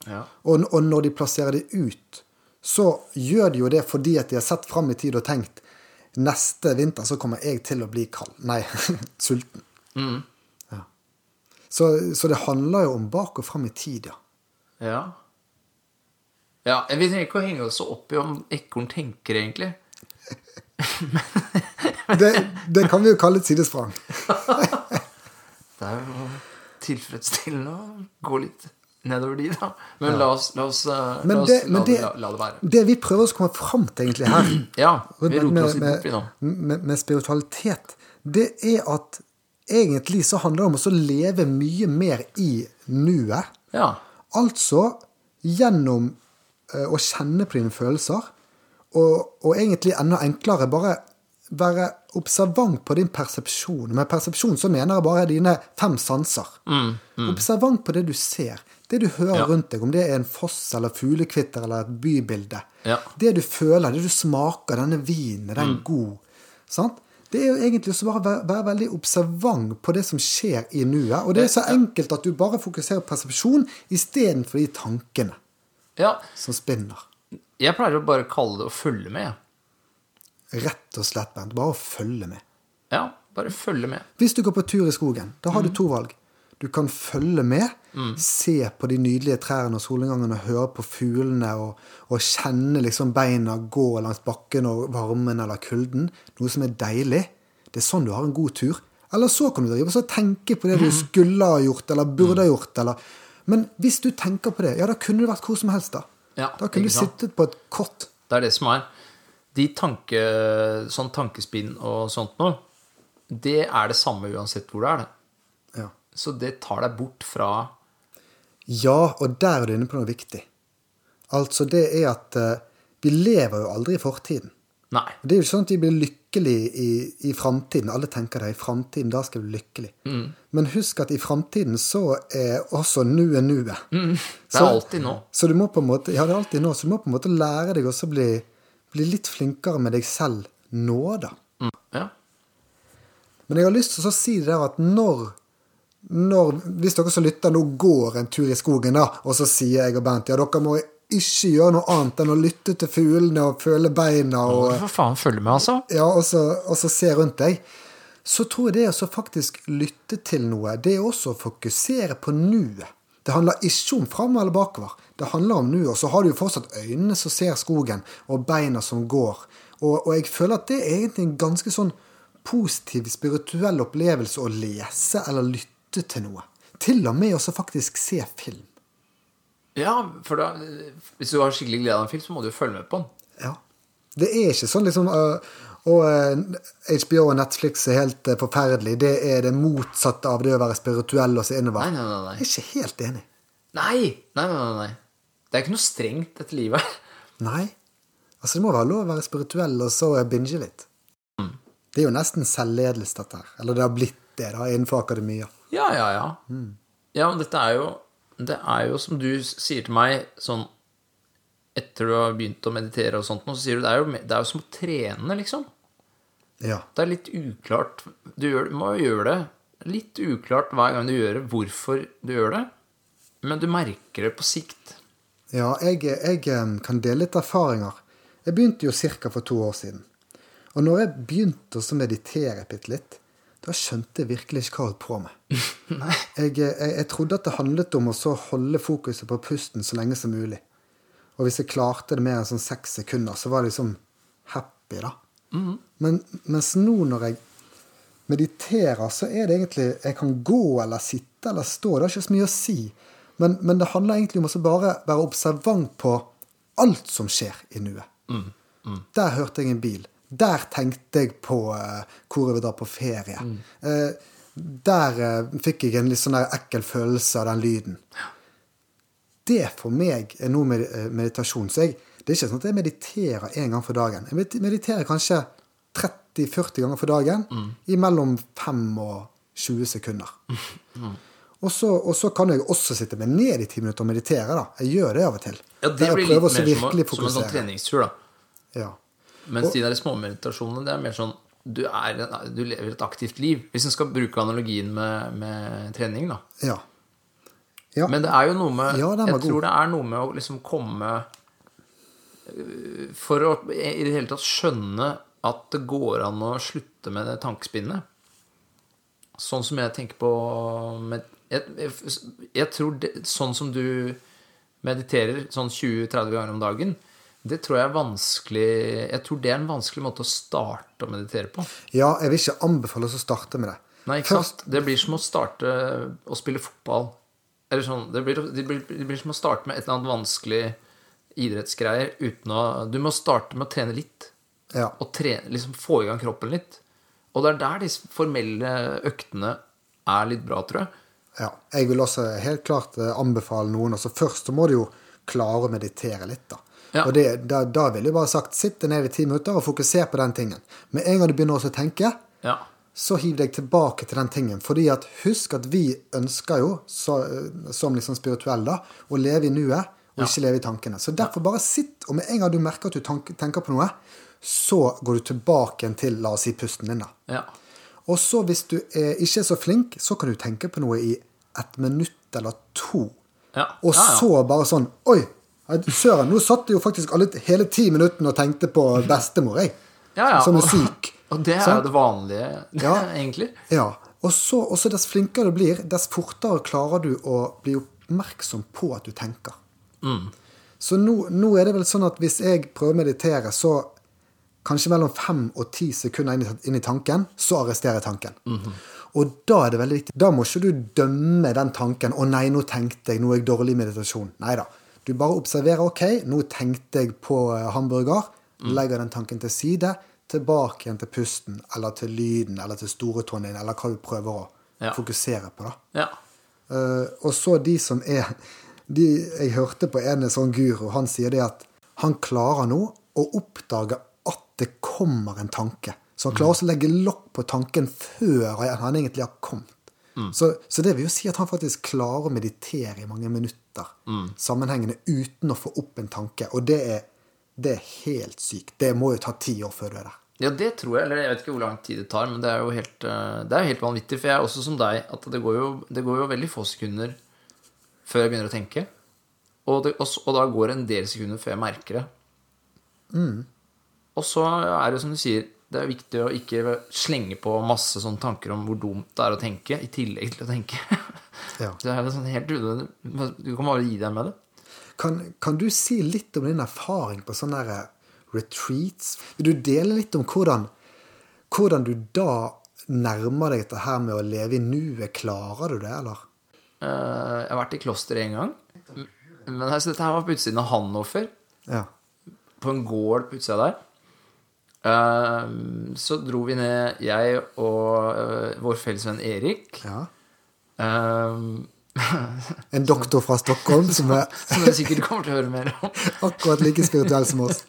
[SPEAKER 2] Ja.
[SPEAKER 1] Og, og når de plasserer det ut, så gjør de jo det fordi at de har sett fram i tid og tenkt neste vinter så kommer jeg til å bli kald. Nei, sulten.
[SPEAKER 2] Mm.
[SPEAKER 1] Ja. Så, så det handler jo om bak og fram i tid, ja.
[SPEAKER 2] ja. ja vi trenger ikke å henge oss så opp i om ekorn tenker, egentlig.
[SPEAKER 1] Det, det kan vi jo kalle et sidesprang.
[SPEAKER 2] Det er jo tilfredsstillende å gå litt nedover de, da. Men la oss, la oss, eh, la,
[SPEAKER 1] Men
[SPEAKER 2] oss
[SPEAKER 1] det,
[SPEAKER 2] la,
[SPEAKER 1] men det,
[SPEAKER 2] la, la det være.
[SPEAKER 1] det vi prøver oss å komme fram til egentlig her
[SPEAKER 2] Ja, vi
[SPEAKER 1] med,
[SPEAKER 2] roter
[SPEAKER 1] med,
[SPEAKER 2] oss litt opp i nå.
[SPEAKER 1] med, med spiritualitet, det er at egentlig så handler det om å så leve mye mer i nuet.
[SPEAKER 2] Ja.
[SPEAKER 1] Altså gjennom eh, å kjenne på dine følelser Og, og egentlig enda enklere bare være observant på din persepsjon. Med persepsjon så mener jeg bare dine fem sanser.
[SPEAKER 2] Mm,
[SPEAKER 1] Observant på det du ser, det du hører rundt deg, om det er en foss eller fuglekvitter eller et bybilde.
[SPEAKER 2] Ja.
[SPEAKER 1] Det du føler, det du smaker, denne vinen, er den god? Sant? Det er jo egentlig også bare å være, være veldig observant på det som skjer i nuet. Og det er så enkelt at du bare fokuserer på persepsjon istedenfor de tankene
[SPEAKER 2] Ja,
[SPEAKER 1] som spinner.
[SPEAKER 2] jeg pleier å bare kalle det å følge med. jeg.
[SPEAKER 1] Rett og slett, Bent. Bare å følge med.
[SPEAKER 2] Ja, bare følge med.
[SPEAKER 1] Hvis du går på tur i skogen, da
[SPEAKER 2] Mm.
[SPEAKER 1] har du to valg. Du kan følge med, se på de nydelige trærne og solnedgangen og høre på fuglene og, og kjenne liksom beina gå langs bakken og varmen eller kulden. Noe som er deilig. Det er sånn du har en god tur. Eller så kan du drive og så tenke på
[SPEAKER 2] Mm.
[SPEAKER 1] det du skulle ha gjort eller burde ha gjort. Eller. Men hvis du tenker på det, ja, da kunne det vært hvor som helst. Da
[SPEAKER 2] Ja,
[SPEAKER 1] Da kunne du
[SPEAKER 2] ikke sant?
[SPEAKER 1] sittet på et kott.
[SPEAKER 2] Det er det som er. De tanke, sånn tankespinn og sånt noe, det er det samme uansett hvor det er. det.
[SPEAKER 1] Ja.
[SPEAKER 2] Så det tar deg bort fra
[SPEAKER 1] Ja, og der er du inne på noe viktig. Altså, det er at eh, vi lever jo aldri i fortiden.
[SPEAKER 2] Nei.
[SPEAKER 1] Det er jo ikke sånn at vi blir lykkelige i, i framtiden. Alle tenker det. I framtiden, da skal du bli lykkelig.
[SPEAKER 2] Mm.
[SPEAKER 1] Men husk at i framtiden så er også nuet nuet.
[SPEAKER 2] Mm. Det er alltid nå.
[SPEAKER 1] Så du må på en måte, ja, det er alltid nå, så du må på en måte lære deg også å bli, bli litt flinkere med deg selv nå, da.
[SPEAKER 2] Mm. Ja.
[SPEAKER 1] Men jeg har lyst til å si det der at når, når Hvis dere som lytter nå går en tur i skogen, da, og så sier jeg og Bent ja, dere må ikke gjøre noe annet enn å lytte til fuglene og føle beina og
[SPEAKER 2] For faen, følge med, altså.
[SPEAKER 1] ja, og så, og så se rundt deg, så tror jeg det å så faktisk lytte til noe, det er også å fokusere på nuet. Det handler ikke om fram eller bakover. Det handler om nuet. Og så har du jo fortsatt øynene som ser skogen, og beina som går. Og, og jeg føler at det er egentlig en ganske sånn positiv spirituell opplevelse å lese eller lytte til noe. Til og med også faktisk se film.
[SPEAKER 2] Ja, for da, hvis du har skikkelig glede av en film, så må du jo følge med på den.
[SPEAKER 1] Ja. Det er ikke sånn liksom øh, Og øh, HBO og Netflix er helt øh, forferdelig. Det er det motsatte av det å være spirituell og se innover.
[SPEAKER 2] Nei, nei, nei, nei.
[SPEAKER 1] Jeg er ikke helt enig.
[SPEAKER 2] Nei! Nei, nei, nei, nei. Det er ikke noe strengt, dette livet.
[SPEAKER 1] Nei. Altså, det må være lov å være spirituell og så øh, binge litt.
[SPEAKER 2] Mm.
[SPEAKER 1] Det er jo nesten selvledelse, dette her. Eller det har blitt det, da, innenfor akademia.
[SPEAKER 2] Ja, ja, ja. Mm. Ja, men dette er jo Det er jo som du s- sier til meg sånn etter du har begynt å meditere og sånt, nå, så sier du det er jo, me- det er jo som å trene, liksom.
[SPEAKER 1] Ja.
[SPEAKER 2] Det er litt uklart Du gjør, må jo gjøre det litt uklart hver gang du gjør det, hvorfor du gjør det. Men du merker det på sikt.
[SPEAKER 1] Ja, jeg, jeg em, kan dele litt erfaringer. Jeg begynte jo ca. for to år siden. Og når jeg begynte å meditere bitte litt, da skjønte jeg virkelig ikke hva jeg holdt på med. jeg, eh, jeg, jeg trodde at det handlet om å så holde fokuset på pusten så lenge som mulig. Og hvis jeg klarte det mer enn sånn seks sekunder, så var jeg liksom happy, da. Men, mens nå når jeg mediterer, så er det egentlig Jeg kan gå eller sitte eller stå. Det har ikke så mye å si. Men, men det handler egentlig om å så bare være observant på alt som skjer i nuet. Der hørte jeg en bil. Der tenkte jeg på eh, hvor jeg vil dra på ferie.
[SPEAKER 2] Mm.
[SPEAKER 1] Eh, der eh, fikk jeg en litt sånn der ekkel følelse av den lyden. Det for meg er nå med, eh, meditasjon. Så jeg, det er ikke sånn at jeg mediterer én gang for dagen. Jeg med- mediterer kanskje 30-40 ganger for dagen
[SPEAKER 2] Mm.
[SPEAKER 1] i mellom 5 og 20 sekunder.
[SPEAKER 2] Mm.
[SPEAKER 1] Og, så, og så kan jeg også sitte meg ned i ti minutter og meditere. da. Jeg gjør det av og til.
[SPEAKER 2] Ja, det
[SPEAKER 1] Der jeg
[SPEAKER 2] blir litt
[SPEAKER 1] prøver
[SPEAKER 2] mer
[SPEAKER 1] også
[SPEAKER 2] som, å-
[SPEAKER 1] virkelig
[SPEAKER 2] som en sånn
[SPEAKER 1] fokusere.
[SPEAKER 2] treningstur, da.
[SPEAKER 1] Ja.
[SPEAKER 2] Mens de der småmeditasjonene, det er mer sånn du, er, en- du lever et aktivt liv. Hvis en skal bruke analogien med, med trening, da.
[SPEAKER 1] Ja. Ja.
[SPEAKER 2] Men det er jo noe med
[SPEAKER 1] Ja, den var
[SPEAKER 2] Jeg
[SPEAKER 1] god.
[SPEAKER 2] tror det er noe med å liksom komme øh, For å i det hele tatt skjønne at det går an å slutte med det tankespinnet. Sånn som jeg tenker på med, jeg, jeg, jeg tror det, sånn som du mediterer sånn 20-30 ganger om dagen, det tror jeg er vanskelig Jeg tror det er en vanskelig måte å starte å meditere på.
[SPEAKER 1] ja, jeg vil ikke anbefale oss å starte med det.
[SPEAKER 2] Nei, ikke sant? Det blir som å starte å spille fotball. Eller sånn, det, blir, det, blir, det blir som å starte med et eller annet vanskelig idrettsgreier uten å Du må starte med å trene litt.
[SPEAKER 1] Ja.
[SPEAKER 2] Og trene, liksom få i gang kroppen litt. Og det er der de formelle øktene er litt bra, tror jeg.
[SPEAKER 1] Ja, jeg vil også helt klart eh, anbefale noen. Altså først så må du jo klare å meditere litt, da.
[SPEAKER 2] Ja.
[SPEAKER 1] Og det, da, da ville jeg bare sagt sitt deg ned i ti minutter og fokuser på den tingen. Med en gang du begynner også å tenke,
[SPEAKER 2] Ja.
[SPEAKER 1] så hiv deg tilbake til den tingen. Fordi at husk at vi ønsker jo, så, som liksom spirituelle, da, å leve i nuet og ikke leve i tankene. Så derfor bare sitt, og med en gang du merker at du tank, tenker på noe, så går du tilbake igjen til, la oss si, pusten din, da.
[SPEAKER 2] Ja.
[SPEAKER 1] Og så hvis du er, ikke er så flink, så kan du tenke på noe i et minutt eller to.
[SPEAKER 2] Ja.
[SPEAKER 1] Og
[SPEAKER 2] ja, ja.
[SPEAKER 1] så bare sånn Oi, søren, nå satt jeg jo faktisk alle, hele ti minuttene og tenkte på bestemor, jeg.
[SPEAKER 2] ja, ja.
[SPEAKER 1] Som er
[SPEAKER 2] og-
[SPEAKER 1] syk.
[SPEAKER 2] Og det er
[SPEAKER 1] Sant?
[SPEAKER 2] jo det vanlige,
[SPEAKER 1] Ja.
[SPEAKER 2] egentlig.
[SPEAKER 1] Ja, og så, og så dess flinkere du blir, dess fortere klarer du å bli oppmerksom på at du tenker. Så nå, nå er det vel sånn at hvis jeg prøver å meditere, så kanskje mellom fem og ti sekunder inn i, inn i tanken, så arresterer jeg tanken. Og da er det veldig viktig. Da må ikke du dømme den tanken 'Å nei, nå tenkte jeg, nå er jeg dårlig i meditasjon'. Nei da. Du bare observerer 'OK, nå tenkte jeg på eh, hamburger'. Legger den tanken til side. Tilbake igjen til pusten, eller til lyden, eller til stortåen din, eller hva du prøver å
[SPEAKER 2] Ja.
[SPEAKER 1] fokusere på. da.
[SPEAKER 2] Ja.
[SPEAKER 1] Eh, og så de som er de, Jeg hørte på en sånn guru, han sier det at han klarer nå å oppdage at det kommer en tanke. Så han klarer også å legge lokk på tanken før han egentlig har kommet. Så, så det vil jo si at han faktisk klarer å meditere i mange minutter sammenhengende uten å få opp en tanke. Og det er, det er helt sykt. Det må jo ta ti år før du er der.
[SPEAKER 2] Ja, det tror jeg. Eller jeg vet ikke hvor lang tid det tar, men det er jo helt, eh, det er jo helt vanvittig. For jeg er også som deg, at det går jo, det går jo veldig få sekunder før jeg begynner å tenke. Og, det, og, s- og da går det en del sekunder før jeg merker det. Og så er det som du sier, det er viktig å ikke slenge på masse sånne tanker om hvor dumt det er å tenke, i tillegg til å tenke.
[SPEAKER 1] Ja.
[SPEAKER 2] Det er jo sånn helt unødvendig. Du kan bare gi deg med det.
[SPEAKER 1] Kan, kan du si litt om din erfaring på sånne der retreats? Vil du dele litt om hvordan, hvordan du da nærmer deg dette her med å leve i nuet? Klarer du det, eller?
[SPEAKER 2] Eh, Jeg har vært i kloster en gang. Men altså, dette her var på utsiden av Hannover.
[SPEAKER 1] Ja.
[SPEAKER 2] på en gård på utsida der. Eh, så dro vi ned, jeg og eh, vår felles venn Erik.
[SPEAKER 1] ja.
[SPEAKER 2] eh,
[SPEAKER 1] En doktor fra Stockholm som er
[SPEAKER 2] som dere sikkert kommer til å høre mer om.
[SPEAKER 1] akkurat like spirituell som oss.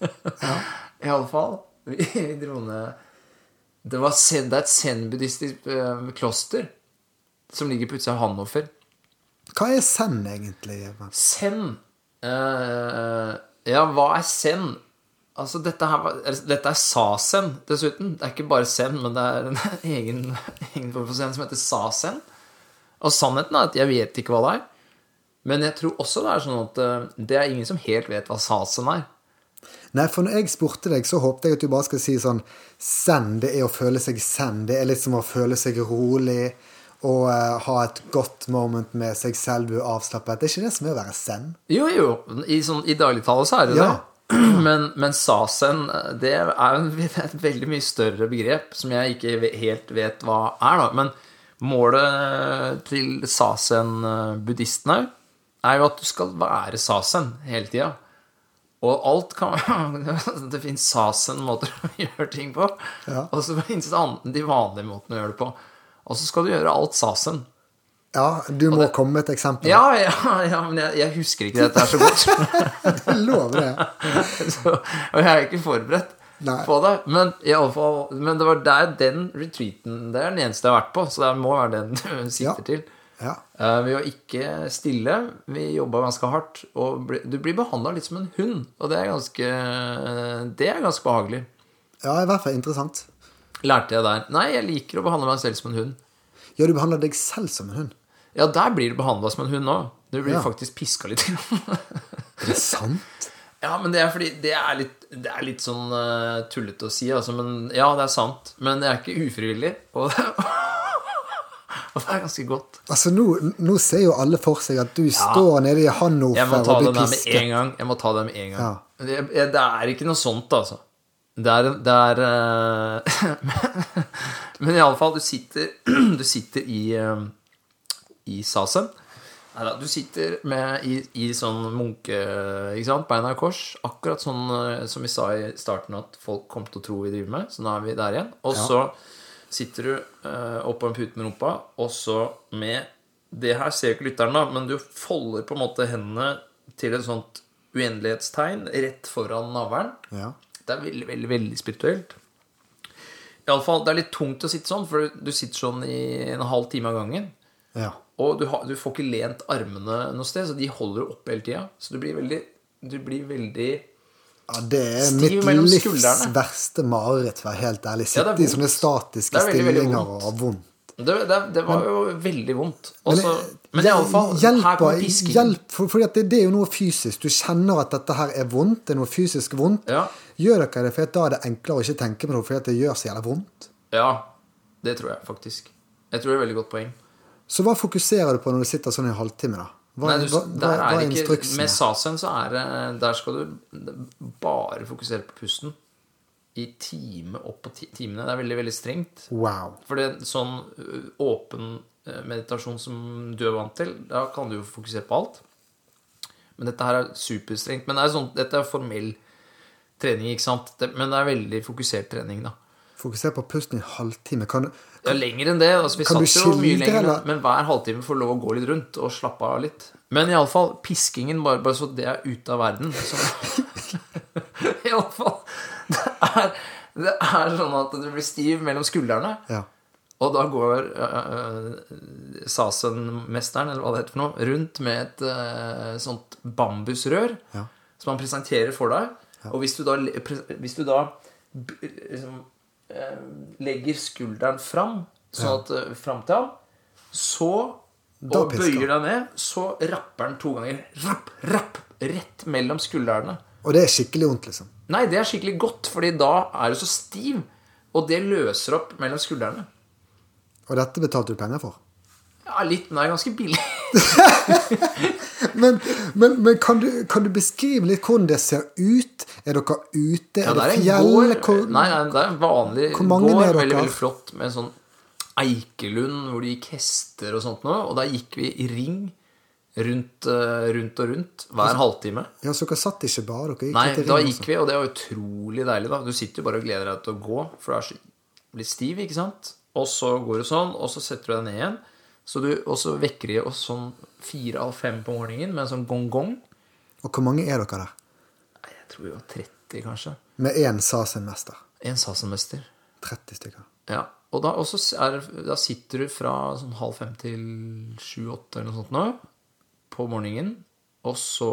[SPEAKER 2] Iallfall. Vi dro ned Det, var zen, det er et zen-buddhistisk eh, kloster som ligger på utsida av Hannover.
[SPEAKER 1] Hva er zen, egentlig?
[SPEAKER 2] Zen. Eh, ja, hva er zen? Altså, dette, her, var- eller, dette er sasen, dessuten. Det er ikke bare zen, men det er en egen, egen form for zen som heter sasen. Og sannheten er at jeg vet ikke hva det er. Men jeg tror også det er sånn at eh, det er ingen som helt vet hva sasen er.
[SPEAKER 1] Nei, for når jeg spurte deg, så håpte jeg at du bare skal si sånn Zen, det er å føle seg zen. Det er litt som å føle seg rolig og eh, ha et godt moment med seg selv, du er avslappet. Det er ikke det som er å være zen?
[SPEAKER 2] Jo, jo. I, sånn, i dagligtale så er det
[SPEAKER 1] Ja.
[SPEAKER 2] det. Men, men sasen, det er jo en- et veldig mye større begrep som jeg ikke ve- helt vet hva er, da. Men målet til sasen-buddhistene er jo at du skal være sasen hele tida. Og alt kan Det fins sasen-måter å gjøre ting på.
[SPEAKER 1] Ja.
[SPEAKER 2] Og så fins det an- de vanlige måtene å gjøre det på. Og så skal du gjøre alt sasen.
[SPEAKER 1] Ja, du må komme med et eksempel.
[SPEAKER 2] Ja, ja, ja men jeg, jeg husker ikke dette her så godt.
[SPEAKER 1] Jeg lover det.
[SPEAKER 2] så, og jeg er ikke forberedt
[SPEAKER 1] Nei.
[SPEAKER 2] på det. Men, i alle fall, men det var der den retreaten Det er den eneste jeg har vært på, så det må være den du sikter
[SPEAKER 1] Ja.
[SPEAKER 2] til.
[SPEAKER 1] Ja.
[SPEAKER 2] Eh, vi var ikke stille. Vi jobba ganske hardt. Og ble, du blir behandla litt som en hund, og det er ganske, det er ganske behagelig.
[SPEAKER 1] ja, i hvert fall interessant.
[SPEAKER 2] Lærte jeg der. Nei, jeg liker å behandle meg selv som en hund.
[SPEAKER 1] Ja, du behandler deg selv som en hund.
[SPEAKER 2] Ja, der blir du behandla som en hund òg. Du blir
[SPEAKER 1] Ja.
[SPEAKER 2] faktisk piska litt.
[SPEAKER 1] Er det sant?
[SPEAKER 2] Ja, men det er fordi Det er litt, det er litt sånn eh, tullete å si, altså. Men ja, det er sant. Men det er ikke ufrivillig. Og, og det er ganske godt.
[SPEAKER 1] Altså, nå, nå ser jo alle for seg at du står nede i
[SPEAKER 2] Jeg må
[SPEAKER 1] Hannover
[SPEAKER 2] ta
[SPEAKER 1] og
[SPEAKER 2] den
[SPEAKER 1] blir
[SPEAKER 2] der med E.
[SPEAKER 1] pisket.
[SPEAKER 2] en gang. Jeg må ta den med en gang.
[SPEAKER 1] Ja.
[SPEAKER 2] Det, jeg- det er ikke noe sånt, altså. Det er, det er eh, Men, men iallfall, du sitter Du sitter i eh, I sasen. Neida, du sitter med, i, i sånn munke... Ikke sant? Beina i kors. Akkurat sånn eh, som vi sa i starten at folk kommer til å tro vi driver med. Så nå er vi der igjen. Og så sitter du eh, oppå en pute med rumpa, og så med Det her ser jo ikke lytteren, da, men du folder på en måte hendene til et sånt uendelighetstegn rett foran navlen.
[SPEAKER 1] Ja.
[SPEAKER 2] Det er veldig, veldig, veldig spirituelt. Iallfall, det er litt tungt å sitte sånn, for du sitter sånn i en halv time av gangen.
[SPEAKER 1] ja.
[SPEAKER 2] Og du, har, du får ikke lent armene noe sted, så de holder opp hele tida. Så du blir veldig, du blir veldig
[SPEAKER 1] Ja, det er
[SPEAKER 2] Stiv
[SPEAKER 1] mitt
[SPEAKER 2] mellom
[SPEAKER 1] livs
[SPEAKER 2] skuldrene.
[SPEAKER 1] verste mareritt, for å være helt ærlig.
[SPEAKER 2] Ja,
[SPEAKER 1] Sitte
[SPEAKER 2] det er
[SPEAKER 1] i sånne statiske
[SPEAKER 2] Det er veldig, veldig
[SPEAKER 1] stillinger
[SPEAKER 2] vondt.
[SPEAKER 1] og ha vondt.
[SPEAKER 2] Det, det, det var jo veldig vondt. Også,
[SPEAKER 1] jeg-
[SPEAKER 2] men iallfall,
[SPEAKER 1] hjelp-
[SPEAKER 2] her kommer piskingen.
[SPEAKER 1] Hjelp, for, fordi at det, det er jo noe fysisk. Du kjenner at dette her er vondt. Det er noe fysisk vondt.
[SPEAKER 2] Ja.
[SPEAKER 1] Gjør dere det, for at da er det enklere å ikke tenke på noe, fordi at det gjør så jævla vondt.
[SPEAKER 2] Ja, det tror jeg faktisk. Jeg tror det er et veldig godt poeng.
[SPEAKER 1] Så hva fokuserer du på når du sitter sånn i en halvtime, da? Hva,
[SPEAKER 2] Nei, du,
[SPEAKER 1] hva, hva,
[SPEAKER 2] der
[SPEAKER 1] hva
[SPEAKER 2] er
[SPEAKER 1] er
[SPEAKER 2] det ikke,
[SPEAKER 1] instruksene?
[SPEAKER 2] med Sasen så er det Der skal du bare fokusere på pusten. I time opp på ti, timene. Det er veldig, veldig strengt.
[SPEAKER 1] Wow.
[SPEAKER 2] For det er sånn ø, åpen ø, meditasjon som du er vant til, da kan du jo fokusere på alt. Men dette her er superstrengt. Men det er sånn, dette er formell trening, ikke sant? Det, men det er veldig fokusert trening, da.
[SPEAKER 1] Fokuser på pusten i en halvtime. Kan,
[SPEAKER 2] Det er lenger enn det. Altså, vi
[SPEAKER 1] Kan du
[SPEAKER 2] satt jo mye
[SPEAKER 1] skildre,
[SPEAKER 2] lenger,
[SPEAKER 1] eller?
[SPEAKER 2] men hver halvtime får lov å gå litt rundt og slappe av litt. Men iallfall, piskingen, bare, bare så det er ute av verden så- Iallfall. Det, er- det er sånn at du blir stiv mellom skuldrene.
[SPEAKER 1] ja.
[SPEAKER 2] Og da går uh, Sasen-mesteren, eller hva det heter for noe, rundt med et øh, sånt bambusrør
[SPEAKER 1] Ja.
[SPEAKER 2] som han presenterer for deg. Og hvis du da, le- pre- hvis du da b- liksom, øh, legger skulderen fram, sånn at øh, fram til ham, så
[SPEAKER 1] Da
[SPEAKER 2] og
[SPEAKER 1] pisker han.
[SPEAKER 2] bøyer deg ned, så rapper han to ganger. Rapp, rapp, rett mellom skuldrene.
[SPEAKER 1] Og det er skikkelig vondt, liksom.
[SPEAKER 2] Nei, det er skikkelig godt, fordi da er du så stiv, og det løser opp mellom skuldrene.
[SPEAKER 1] Og dette betalte du penger for.
[SPEAKER 2] Ja, litt, men det er ganske billig.
[SPEAKER 1] Men, men, men kan, du, kan du beskrive litt hvordan det ser ut? Er dere ute?
[SPEAKER 2] Ja,
[SPEAKER 1] Er
[SPEAKER 2] det er
[SPEAKER 1] det
[SPEAKER 2] en
[SPEAKER 1] fjell?
[SPEAKER 2] gård
[SPEAKER 1] Hvor-
[SPEAKER 2] Nei, nei, det er en vanlig
[SPEAKER 1] Hvor mange
[SPEAKER 2] gård,
[SPEAKER 1] er dere?
[SPEAKER 2] veldig, veldig flott, med en sånn eikelund hvor det gikk hester og sånt noe, og der gikk vi i ring rundt, eh, rundt og rundt hver halvtime.
[SPEAKER 1] Ja, så dere satt Altså, ikke bare? Dere gikk
[SPEAKER 2] Nei,
[SPEAKER 1] litt i
[SPEAKER 2] da
[SPEAKER 1] ring, altså.
[SPEAKER 2] gikk vi, og det var utrolig deilig, da. Du sitter jo bare og gleder deg til å gå, for du er så litt stiv, ikke sant? Og så går du sånn, og så setter du deg ned igjen. Så du, og så vekker de oss sånn fire av fem på morgenen med en sånn gong-gong.
[SPEAKER 1] altså. Og hvor mange er dere der?
[SPEAKER 2] Nei, jeg tror vi var 30, kanskje.
[SPEAKER 1] Med én Sasen-mester.
[SPEAKER 2] En sasenmester.
[SPEAKER 1] 30 stykker.
[SPEAKER 2] Ja, og da, og så er, da sitter du fra sånn halv fem til sju-åtte eller noe sånt nå, på morgenen, og så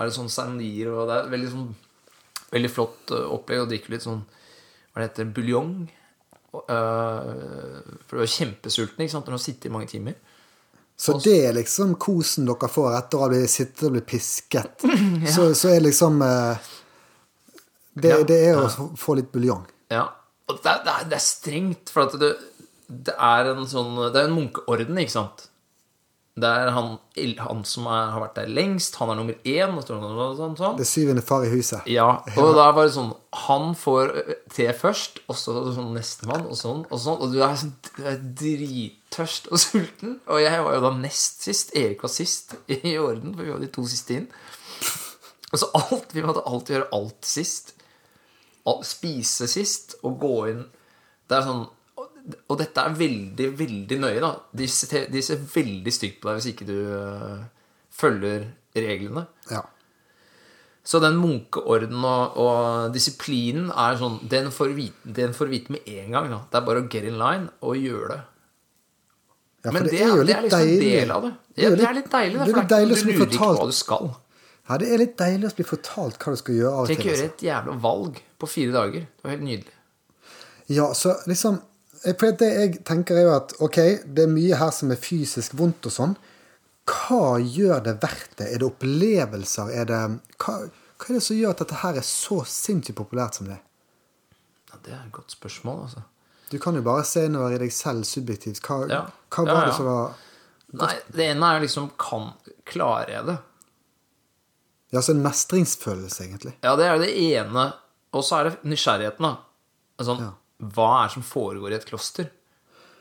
[SPEAKER 2] er det sånn sandir, og det er veldig sånn veldig flott eh, opplegg, og drikker litt sånn, hva det heter, buljong, og, eh, for du er kjempesulten, ikke sant, når du har sittet i mange timer.
[SPEAKER 1] Så det er liksom kosen dere får etter å ha blitt- sittet og blitt pisket. så, så er liksom eh, Det,
[SPEAKER 2] Ja.
[SPEAKER 1] det er å få- få litt buljong.
[SPEAKER 2] Ja, og det, er- det, er, det er strengt, for at det, det er en sånn Det er en munkeorden, ikke sant? Det er han, han som er, har vært der lengst, han er nummer én. Og sånn, sånn, sånn, sånn.
[SPEAKER 1] Det er syvende far i huset.
[SPEAKER 2] Ja, og da var det sånn Han får ø, te først, og så sånn nestemann, og sånn, og sånn. Og du er, sånn, du er drittørst og sulten. Og jeg var jo da nest sist. Erik var sist i orden, for vi var de to siste inn. Og så alt, Vi måtte alltid gjøre alt sist. Al- Spise sist og gå inn Det er sånn og- Og dette er veldig, veldig nøye, da. De ser, de ser veldig stygt på deg hvis ikke du ø, følger reglene.
[SPEAKER 1] Ja.
[SPEAKER 2] Så den munkeorden og, og disiplinen er sånn den får, vite, den får vite med en gang. Da. Det er bare å get in line og gjøre det.
[SPEAKER 1] Ja, for
[SPEAKER 2] Men det,
[SPEAKER 1] er
[SPEAKER 2] er,
[SPEAKER 1] jo
[SPEAKER 2] det
[SPEAKER 1] litt
[SPEAKER 2] er liksom en
[SPEAKER 1] deilig.
[SPEAKER 2] del av det.
[SPEAKER 1] er
[SPEAKER 2] Ja,
[SPEAKER 1] jo
[SPEAKER 2] det er litt deilig. da,
[SPEAKER 1] Det er
[SPEAKER 2] for
[SPEAKER 1] litt
[SPEAKER 2] det er
[SPEAKER 1] deilig
[SPEAKER 2] ikke-
[SPEAKER 1] å bli
[SPEAKER 2] du lurer ikke på
[SPEAKER 1] fortalt
[SPEAKER 2] hva du skal.
[SPEAKER 1] Ja, det er litt deilig å bli fortalt hva du skal gjøre av og
[SPEAKER 2] Tenk å
[SPEAKER 1] til.
[SPEAKER 2] gjøre et jævla valg på fire dager. Det var helt nydelig.
[SPEAKER 1] altså. Ja, så liksom eh, For det jeg tenker er jo at ok, det er mye her som er fysisk vondt og sånn. Hva gjør det verdt det? Er det opplevelser? Er det Hva, hva er det som gjør at dette her er så sinnssykt populært som det? er?
[SPEAKER 2] Ja, det er et godt spørsmål, altså.
[SPEAKER 1] Du kan jo bare se innover i deg selv subjektivt. Hva,
[SPEAKER 2] Ja.
[SPEAKER 1] hva var
[SPEAKER 2] Ja, ja.
[SPEAKER 1] det som var
[SPEAKER 2] Nei, det ene er liksom kan, Klarer jeg det?
[SPEAKER 1] Ja, så en mestringsfølelse, egentlig.
[SPEAKER 2] Ja, det er jo det ene. Og så er det nysgjerrigheten, da. Sånn,
[SPEAKER 1] Ja.
[SPEAKER 2] Hva er det som foregår i et kloster?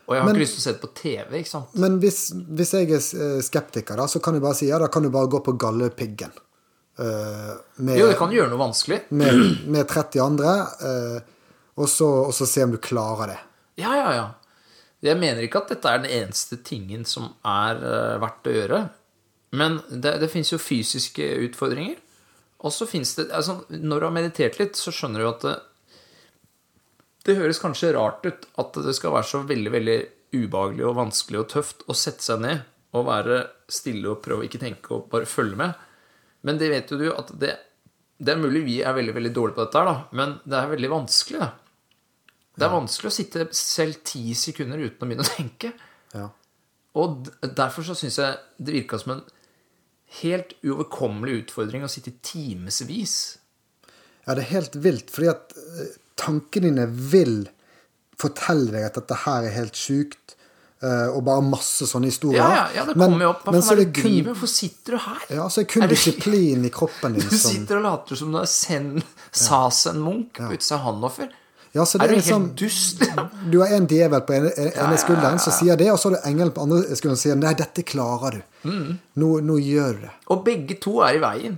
[SPEAKER 2] Og jeg har ikke lyst til å se det på TV, ikke sant?
[SPEAKER 1] Men hvis, hvis jeg er eh, skeptiker, da, så kan du bare si ja, da kan du bare gå på Galdhøpiggen. eh, med-
[SPEAKER 2] Jo, det kan gjøre noe vanskelig.
[SPEAKER 1] med, med 30 andre, eh, og, så, og så se om du klarer det.
[SPEAKER 2] Ja, ja, ja. Jeg mener ikke at dette er den eneste tingen som er eh, verdt å gjøre. Men det, det fins jo fysiske utfordringer. Og så fins det altså, Når du har meditert litt, så skjønner du at det, det høres kanskje rart ut at det skal være så veldig veldig ubehagelig og vanskelig og tøft å sette seg ned og være stille og prøve å ikke tenke og bare følge med. Men det vet jo du at det, det er mulig vi er veldig veldig dårlige på dette her, da, men det er veldig vanskelig. da. Det er vanskelig å sitte selv ti sekunder uten å begynne å tenke.
[SPEAKER 1] Ja.
[SPEAKER 2] Og d- derfor så syns jeg det virka som en helt uoverkommelig utfordring å sitte i timevis.
[SPEAKER 1] Ja, det er helt vilt, fordi at eh, tankene dine vil fortelle deg at dette her er helt sjukt, eh, og bare masse sånne historier.
[SPEAKER 2] Ja, ja, ja, det
[SPEAKER 1] Men-
[SPEAKER 2] kommer jo opp. Hva
[SPEAKER 1] men så
[SPEAKER 2] faen er
[SPEAKER 1] det
[SPEAKER 2] det du
[SPEAKER 1] kun-
[SPEAKER 2] driver med? Hvorfor sitter du her?
[SPEAKER 1] Ja, så er det kun
[SPEAKER 2] Er du-
[SPEAKER 1] disiplin i kroppen din
[SPEAKER 2] Du
[SPEAKER 1] som
[SPEAKER 2] sitter og later som du er Zen, Sasen Munch på utsida av Hanoffer.
[SPEAKER 1] Ja, så det
[SPEAKER 2] er
[SPEAKER 1] er
[SPEAKER 2] du
[SPEAKER 1] liksom-
[SPEAKER 2] helt dust?
[SPEAKER 1] Du har en djevel på ene, ene skulderen som sier det, og så har du engelen på andre skulderen som sier 'nei, dette klarer du'.
[SPEAKER 2] Mm.
[SPEAKER 1] Nå, nå gjør du det.
[SPEAKER 2] Og begge to er i veien.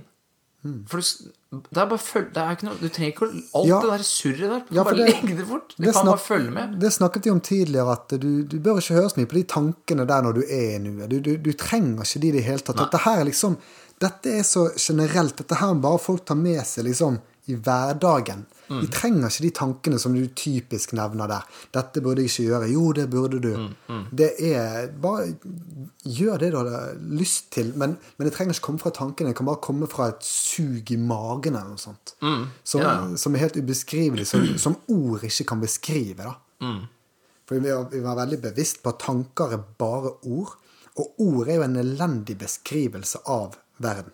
[SPEAKER 2] For du, s- det er bare føl, det er ikke noe, Du trenger ikke å- alt
[SPEAKER 1] Hmm. Ja.
[SPEAKER 2] det der surret der. Du
[SPEAKER 1] Ja, for
[SPEAKER 2] kan bare
[SPEAKER 1] det-
[SPEAKER 2] legge det bort. Du
[SPEAKER 1] det
[SPEAKER 2] kan
[SPEAKER 1] snak-
[SPEAKER 2] bare følge med.
[SPEAKER 1] Det snakket vi om tidligere, at du, du bør ikke høre så mye på de tankene der når du er i nuet. Du, du, du trenger ikke de i det hele tatt. Dette her er liksom, dette er så generelt. Dette her bare folk tar med seg liksom i hverdagen. Vi trenger ikke de tankene som du typisk nevner der. 'Dette burde jeg ikke gjøre.' Jo, det burde du. Det er Bare gjør det du har lyst til, men, men det trenger ikke komme fra tankene. Det kan bare komme fra et sug i magen eller noe sånt. Som,
[SPEAKER 2] Ja,
[SPEAKER 1] som er helt ubeskrivelig, som, som ord ikke kan beskrive. da. For vi må- vi må være veldig bevisst på at tanker er bare ord, og ord er jo en elendig beskrivelse av verden.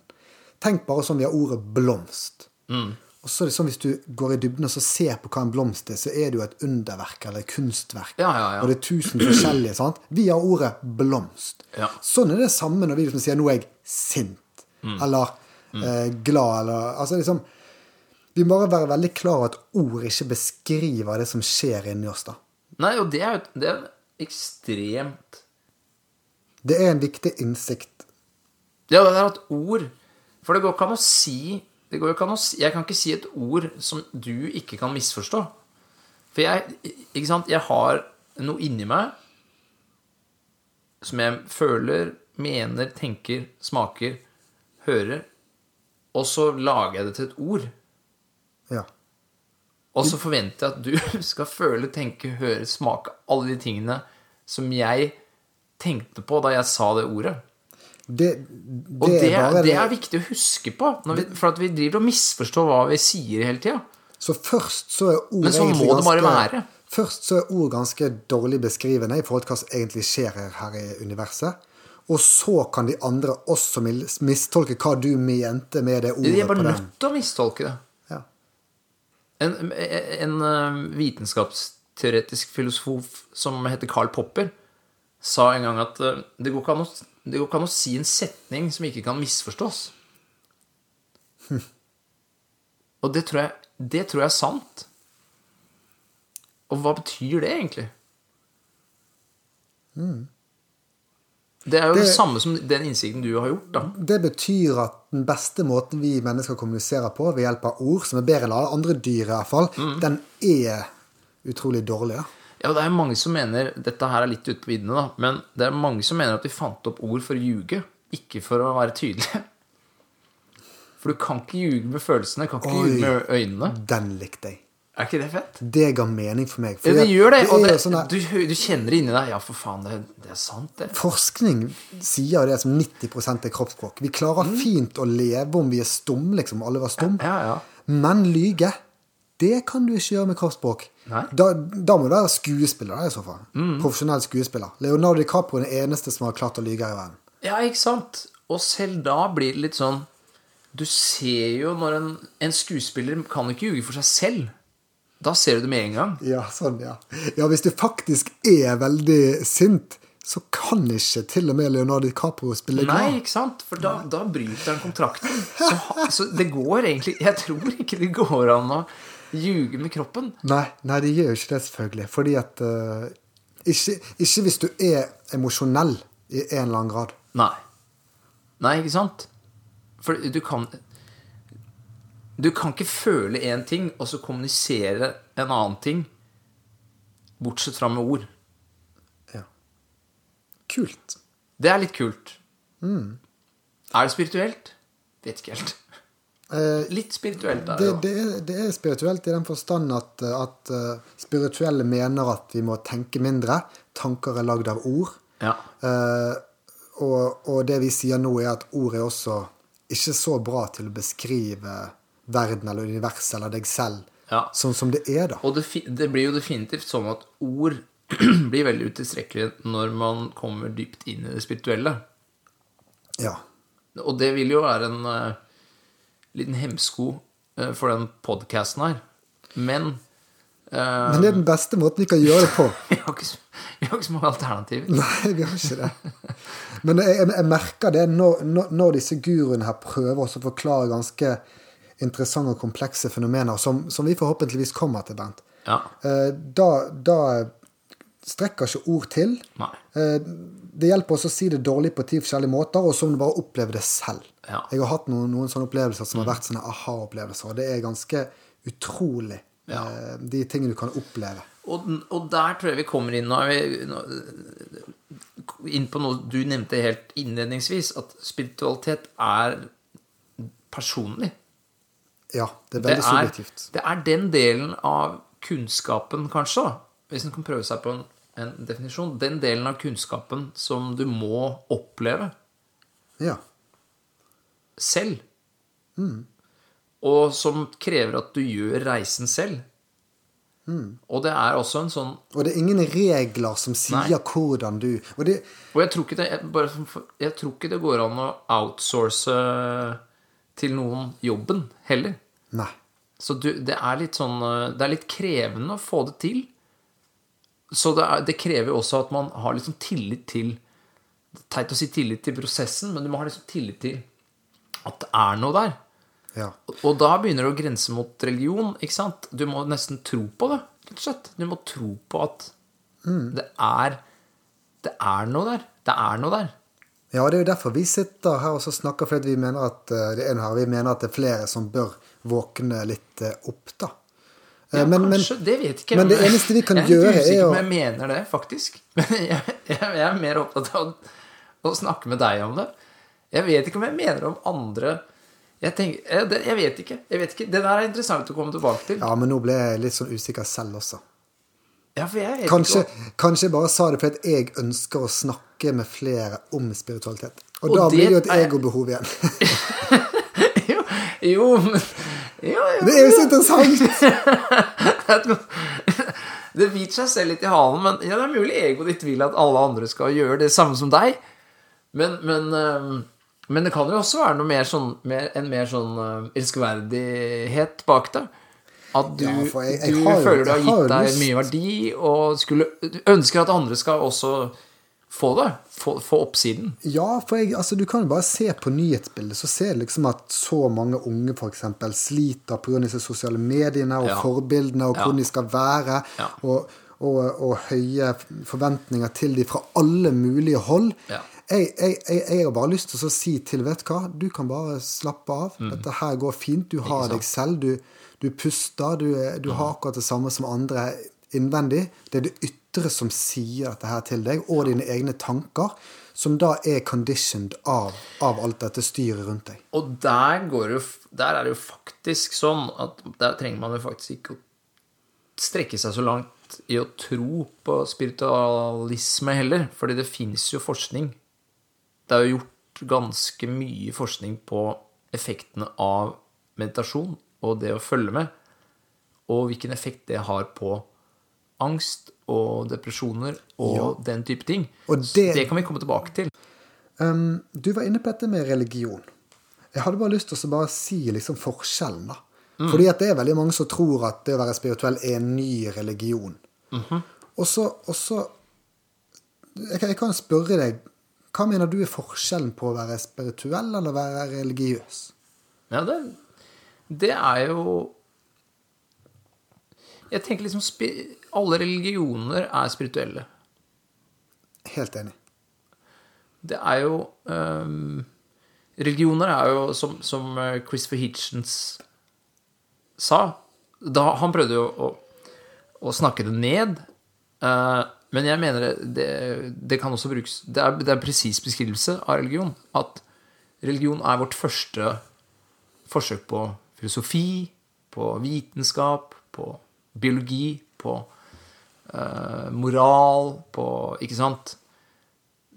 [SPEAKER 1] Tenk bare sånn vi har ordet blomst.
[SPEAKER 2] Mm.
[SPEAKER 1] Og så er det sånn Hvis du går i dybden og så ser på hva en blomst er, så er det jo et underverk eller et kunstverk.
[SPEAKER 2] Ja, ja, ja.
[SPEAKER 1] Og det er tusen forskjellige. sant? Vi har ordet blomst.
[SPEAKER 2] Ja.
[SPEAKER 1] Sånn er det samme når vi liksom sier 'nå er jeg sint'
[SPEAKER 2] Mm.
[SPEAKER 1] eller eh, 'glad' eller altså liksom, Vi må bare være veldig klar over at ord ikke beskriver det som skjer inni oss. da.
[SPEAKER 2] Nei, og det er jo et- det er en ekstremt
[SPEAKER 1] Det er en viktig innsikt.
[SPEAKER 2] Ja, det er at ord For det går ikke an å si det går jo ikke an å si, Jeg kan ikke si et ord som du ikke kan misforstå. For jeg Ikke sant? Jeg har noe inni meg som jeg føler, mener, tenker, smaker, hører. Og så lager jeg det til et ord.
[SPEAKER 1] Ja.
[SPEAKER 2] Og så forventer jeg at du skal føle, tenke, høre, smake alle de tingene som jeg tenkte på da jeg sa det ordet.
[SPEAKER 1] Det, det,
[SPEAKER 2] Og det, det,
[SPEAKER 1] er bare
[SPEAKER 2] er, viktig å huske på, når vi, for at vi driver og misforstår hva vi sier hele tida.
[SPEAKER 1] Så først så er ord
[SPEAKER 2] Men så må
[SPEAKER 1] egentlig
[SPEAKER 2] det bare
[SPEAKER 1] ganske-
[SPEAKER 2] være.
[SPEAKER 1] Først så er ord ganske dårlig beskrivende i forhold til hva som egentlig skjer her, her i universet. Og så kan de andre også mil- mistolke hva du mente med det
[SPEAKER 2] De
[SPEAKER 1] ordet.
[SPEAKER 2] er
[SPEAKER 1] på
[SPEAKER 2] bare
[SPEAKER 1] den.
[SPEAKER 2] nødt til å mistolke det.
[SPEAKER 1] Ja.
[SPEAKER 2] En, en eh, vitenskapsteoretisk filosof som heter Carl Popper, sa en gang at eh, det går ikke an å, det går ikke an å si en setning som ikke kan misforstås. Og det tror, jeg, det tror jeg er sant. Og hva betyr det egentlig? Det er jo det,
[SPEAKER 1] Det-
[SPEAKER 2] samme som den innsikten du har gjort, da.
[SPEAKER 1] Det betyr at den beste måten vi mennesker kommuniserer på ved hjelp av ord, som er bedre enn alle andre dyr i hvert fall,
[SPEAKER 2] Mm.
[SPEAKER 1] den er utrolig dårlig. da.
[SPEAKER 2] Ja, det er mange som mener Dette her er litt ute på viddene, da. Men det er mange som mener at vi fant opp ord for å ljuge, ikke for å være tydelige. For du kan ikke ljuge med følelsene, du kan ikke
[SPEAKER 1] Oi.
[SPEAKER 2] ljuge med ø- øynene.
[SPEAKER 1] Den likte jeg.
[SPEAKER 2] Er ikke det fett?
[SPEAKER 1] Det ga mening for meg.
[SPEAKER 2] Ja,
[SPEAKER 1] fordi
[SPEAKER 2] det
[SPEAKER 1] at
[SPEAKER 2] gjør det.
[SPEAKER 1] er
[SPEAKER 2] Og det,
[SPEAKER 1] jo sånn der-
[SPEAKER 2] du, hø- du kjenner det inni deg. Ja, for faen, det, det er sant, det.
[SPEAKER 1] Forskning sier jo det som 90 er kroppsspråk. Vi klarer fint å leve om vi er stum, liksom. Alle var stum.
[SPEAKER 2] Ja, ja.
[SPEAKER 1] Men lyge, det kan du ikke gjøre med kroppsspråk.
[SPEAKER 2] Nei.
[SPEAKER 1] Da, da må du være skuespiller, da, i så fall. Profesjonell skuespiller. Leonardo DiCaprio er den eneste som har klart å lyge her i verden.
[SPEAKER 2] Ja, ikke sant? Og selv da blir det litt sånn Du ser jo når en, en skuespiller kan ikke ljuge for seg selv. Da ser du det med en gang.
[SPEAKER 1] Ja, sånn, ja. Ja, hvis du faktisk er veldig sint, så kan ikke til og med Leonardo DiCaprio spille glad.
[SPEAKER 2] Nei, ikke sant? For da, da bryter han kontrakten. Så, ha- så det går egentlig Jeg tror ikke det går an å ljuge med kroppen.
[SPEAKER 1] Nei, nei, de gjør jo ikke det, selvfølgelig. Fordi at eh, ikke, ikke hvis du er emosjonell i en eller annen grad.
[SPEAKER 2] Nei. Nei, ikke sant? For du kan Du kan ikke føle én ting, og så kommunisere en annen ting, bortsett fra med ord.
[SPEAKER 1] Ja. Kult.
[SPEAKER 2] Det er litt kult. Er det spirituelt? Vet ikke helt.
[SPEAKER 1] Eh,
[SPEAKER 2] Litt spirituelt er det
[SPEAKER 1] det,
[SPEAKER 2] jo.
[SPEAKER 1] det, er, det er spirituelt i den forstand at, at eh, spirituelle mener at vi må tenke mindre. Tanker er lagd av ord.
[SPEAKER 2] Ja.
[SPEAKER 1] Eh, og, og det vi sier nå, er at ord er også ikke så bra til å beskrive verden eller universet eller deg selv
[SPEAKER 2] Ja.
[SPEAKER 1] sånn som det er, da.
[SPEAKER 2] Og det, fi- det blir jo definitivt sånn at ord blir veldig utilstrekkelige når man kommer dypt inn i det spirituelle.
[SPEAKER 1] Ja.
[SPEAKER 2] Og det vil jo være en eh, liten hemsko eh, for den podkasten her. Men eh,
[SPEAKER 1] Men det er den beste måten vi kan gjøre det på.
[SPEAKER 2] vi, har ikke, så- vi har ikke så mange alternativer.
[SPEAKER 1] Nei, vi har ikke det. Men jeg, jeg, jeg merker det når, når, når disse guruene her prøver også å forklare ganske interessante og komplekse fenomener, som, som vi forhåpentligvis kommer til, Bent.
[SPEAKER 2] Ja.
[SPEAKER 1] Eh, Da, da strekker ikke ord til.
[SPEAKER 2] Nei.
[SPEAKER 1] Eh, Det hjelper også å si det dårlig på ti forskjellige måter, og så må du bare oppleve det selv.
[SPEAKER 2] Ja.
[SPEAKER 1] Jeg har hatt noen, noen sånne opplevelser som har vært sånne aha-opplevelser, og det er ganske utrolig,
[SPEAKER 2] Ja.
[SPEAKER 1] eh, de tingene du kan oppleve.
[SPEAKER 2] Og, og der tror jeg vi kommer inn nå, er vi, nå eh, Inn på noe du nevnte helt innledningsvis, at spiritualitet er personlig.
[SPEAKER 1] Ja, det er veldig subjektivt.
[SPEAKER 2] det er den delen av kunnskapen, kanskje, da, hvis en kan prøve seg på en, en definisjon, den delen av kunnskapen som du må oppleve
[SPEAKER 1] Ja.
[SPEAKER 2] selv. Og som krever at du gjør reisen selv. Og det er også en sånn
[SPEAKER 1] Og det er ingen regler som sier
[SPEAKER 2] Nei.
[SPEAKER 1] hvordan du og det,
[SPEAKER 2] Og jeg tror ikke det, jeg bare, som for- jeg tror ikke det går an å outsource eh, til noen jobben heller.
[SPEAKER 1] Nei.
[SPEAKER 2] Så du, det er litt sånn eh, Det er litt krevende å få det til. Så det, er, det krever jo også at man har litt sånn tillit til det er Teit å si tillit til prosessen, men du må ha liksom tillit til at det er noe der.
[SPEAKER 1] Ja.
[SPEAKER 2] Og- Og da begynner det å grense mot religion, ikke sant? Du må nesten tro på det, rett og slett. Du må tro på at det er Det er noe der. Det er noe der.
[SPEAKER 1] ja, det er jo derfor vi sitter her og så snakker, fordi vi mener at eh, det er noe her, vi mener at det er flere som bør våkne litt eh, opp, da. Eh,
[SPEAKER 2] Ja,
[SPEAKER 1] men, men,
[SPEAKER 2] kanskje, det vet ikke jeg,
[SPEAKER 1] men det eneste vi kan
[SPEAKER 2] jeg er
[SPEAKER 1] gjøre
[SPEAKER 2] litt
[SPEAKER 1] er
[SPEAKER 2] usikker
[SPEAKER 1] å-
[SPEAKER 2] om jeg mener det, faktisk. Men jeg, jeg, jeg er mer opptatt av å, å snakke med deg om det. Jeg vet ikke om jeg mener om andre Jeg, tenker, jeg, det, jeg vet ikke. Jeg vet ikke. Det der er interessant å komme tilbake til. Ja,
[SPEAKER 1] Ja, men nå ble jeg litt sånn usikker selv også.
[SPEAKER 2] for jeg vet
[SPEAKER 1] Kanskje,
[SPEAKER 2] ikke.
[SPEAKER 1] kanskje jeg bare sa det fordi at jeg ønsker å snakke med flere om spiritualitet. Og,
[SPEAKER 2] Og
[SPEAKER 1] da
[SPEAKER 2] det
[SPEAKER 1] blir det jo et
[SPEAKER 2] er-
[SPEAKER 1] egobehov igjen.
[SPEAKER 2] om- Jo, jo, men jo, jo,
[SPEAKER 1] Det er jo så interessant!
[SPEAKER 2] Det biter seg selv litt i halen, men ja, det er mulig egoet ditt vil at alle andre skal gjøre det samme som deg. Men, men, øhm, men det kan jo også være noe mer sånn, mer, en mer sånn øhm, elskverdighet bak det. At du,
[SPEAKER 1] Ja, for jeg- jeg
[SPEAKER 2] du
[SPEAKER 1] har jo-
[SPEAKER 2] føler du har
[SPEAKER 1] jeg har
[SPEAKER 2] gitt
[SPEAKER 1] jo
[SPEAKER 2] deg
[SPEAKER 1] lyst.
[SPEAKER 2] mye verdi, og skulle, du ønsker at andre skal også få det. Få, få oppsiden.
[SPEAKER 1] Ja, for jeg, altså, du kan jo bare se på nyhetsbildet, så ser du liksom at så mange unge for eksempel, sliter pga. disse sosiale mediene og
[SPEAKER 2] Ja.
[SPEAKER 1] forbildene og
[SPEAKER 2] Ja.
[SPEAKER 1] hvordan de skal være,
[SPEAKER 2] Ja.
[SPEAKER 1] og, og, og høye forventninger til de fra alle mulige hold.
[SPEAKER 2] Ja.
[SPEAKER 1] Jeg, jeg, jeg, jeg har bare lyst til å si til Vet du hva, du kan bare slappe av. Dette her går fint. Du har deg selv. Du, du puster. Du, er- du har akkurat det samme som andre innvendig. Det er det ytre som sier dette her til deg, og dine egne tanker, som da er conditioned av, av alt dette styret rundt deg.
[SPEAKER 2] Og der, går det jo, f- der er det jo faktisk sånn at der trenger man jo faktisk ikke å strekke seg så langt i å tro på spiritualisme heller, fordi det fins jo forskning. Det er jo gjort ganske mye forskning på effektene av meditasjon og det å følge med, og hvilken effekt det har på angst og depresjoner og den type ting.
[SPEAKER 1] Og
[SPEAKER 2] Så
[SPEAKER 1] det-
[SPEAKER 2] det kan vi komme tilbake til.
[SPEAKER 1] Um, du var inne på dette med religion. Jeg hadde bare lyst til å bare si liksom forskjellen, da. Fordi at det er veldig mange som tror at det å være spirituell er en ny religion. Og så og så- jeg, kan- jeg kan spørre deg Hva mener du er forskjellen på å være spirituell eller å være religiøs?
[SPEAKER 2] Ja, det, det er jo Jeg tenker liksom spi, Alle religioner er spirituelle.
[SPEAKER 1] Helt enig.
[SPEAKER 2] Det er jo øhm, Religioner er jo, som, som eh, Christopher Hitchens sa da, Han prøvde jo å, å snakke det ned. eh, men jeg mener det, det, det kan også brukes Det er, det er en presis beskrivelse av religion. At religion er vårt første forsøk på filosofi, på vitenskap, på biologi, på eh, moral, på Ikke sant?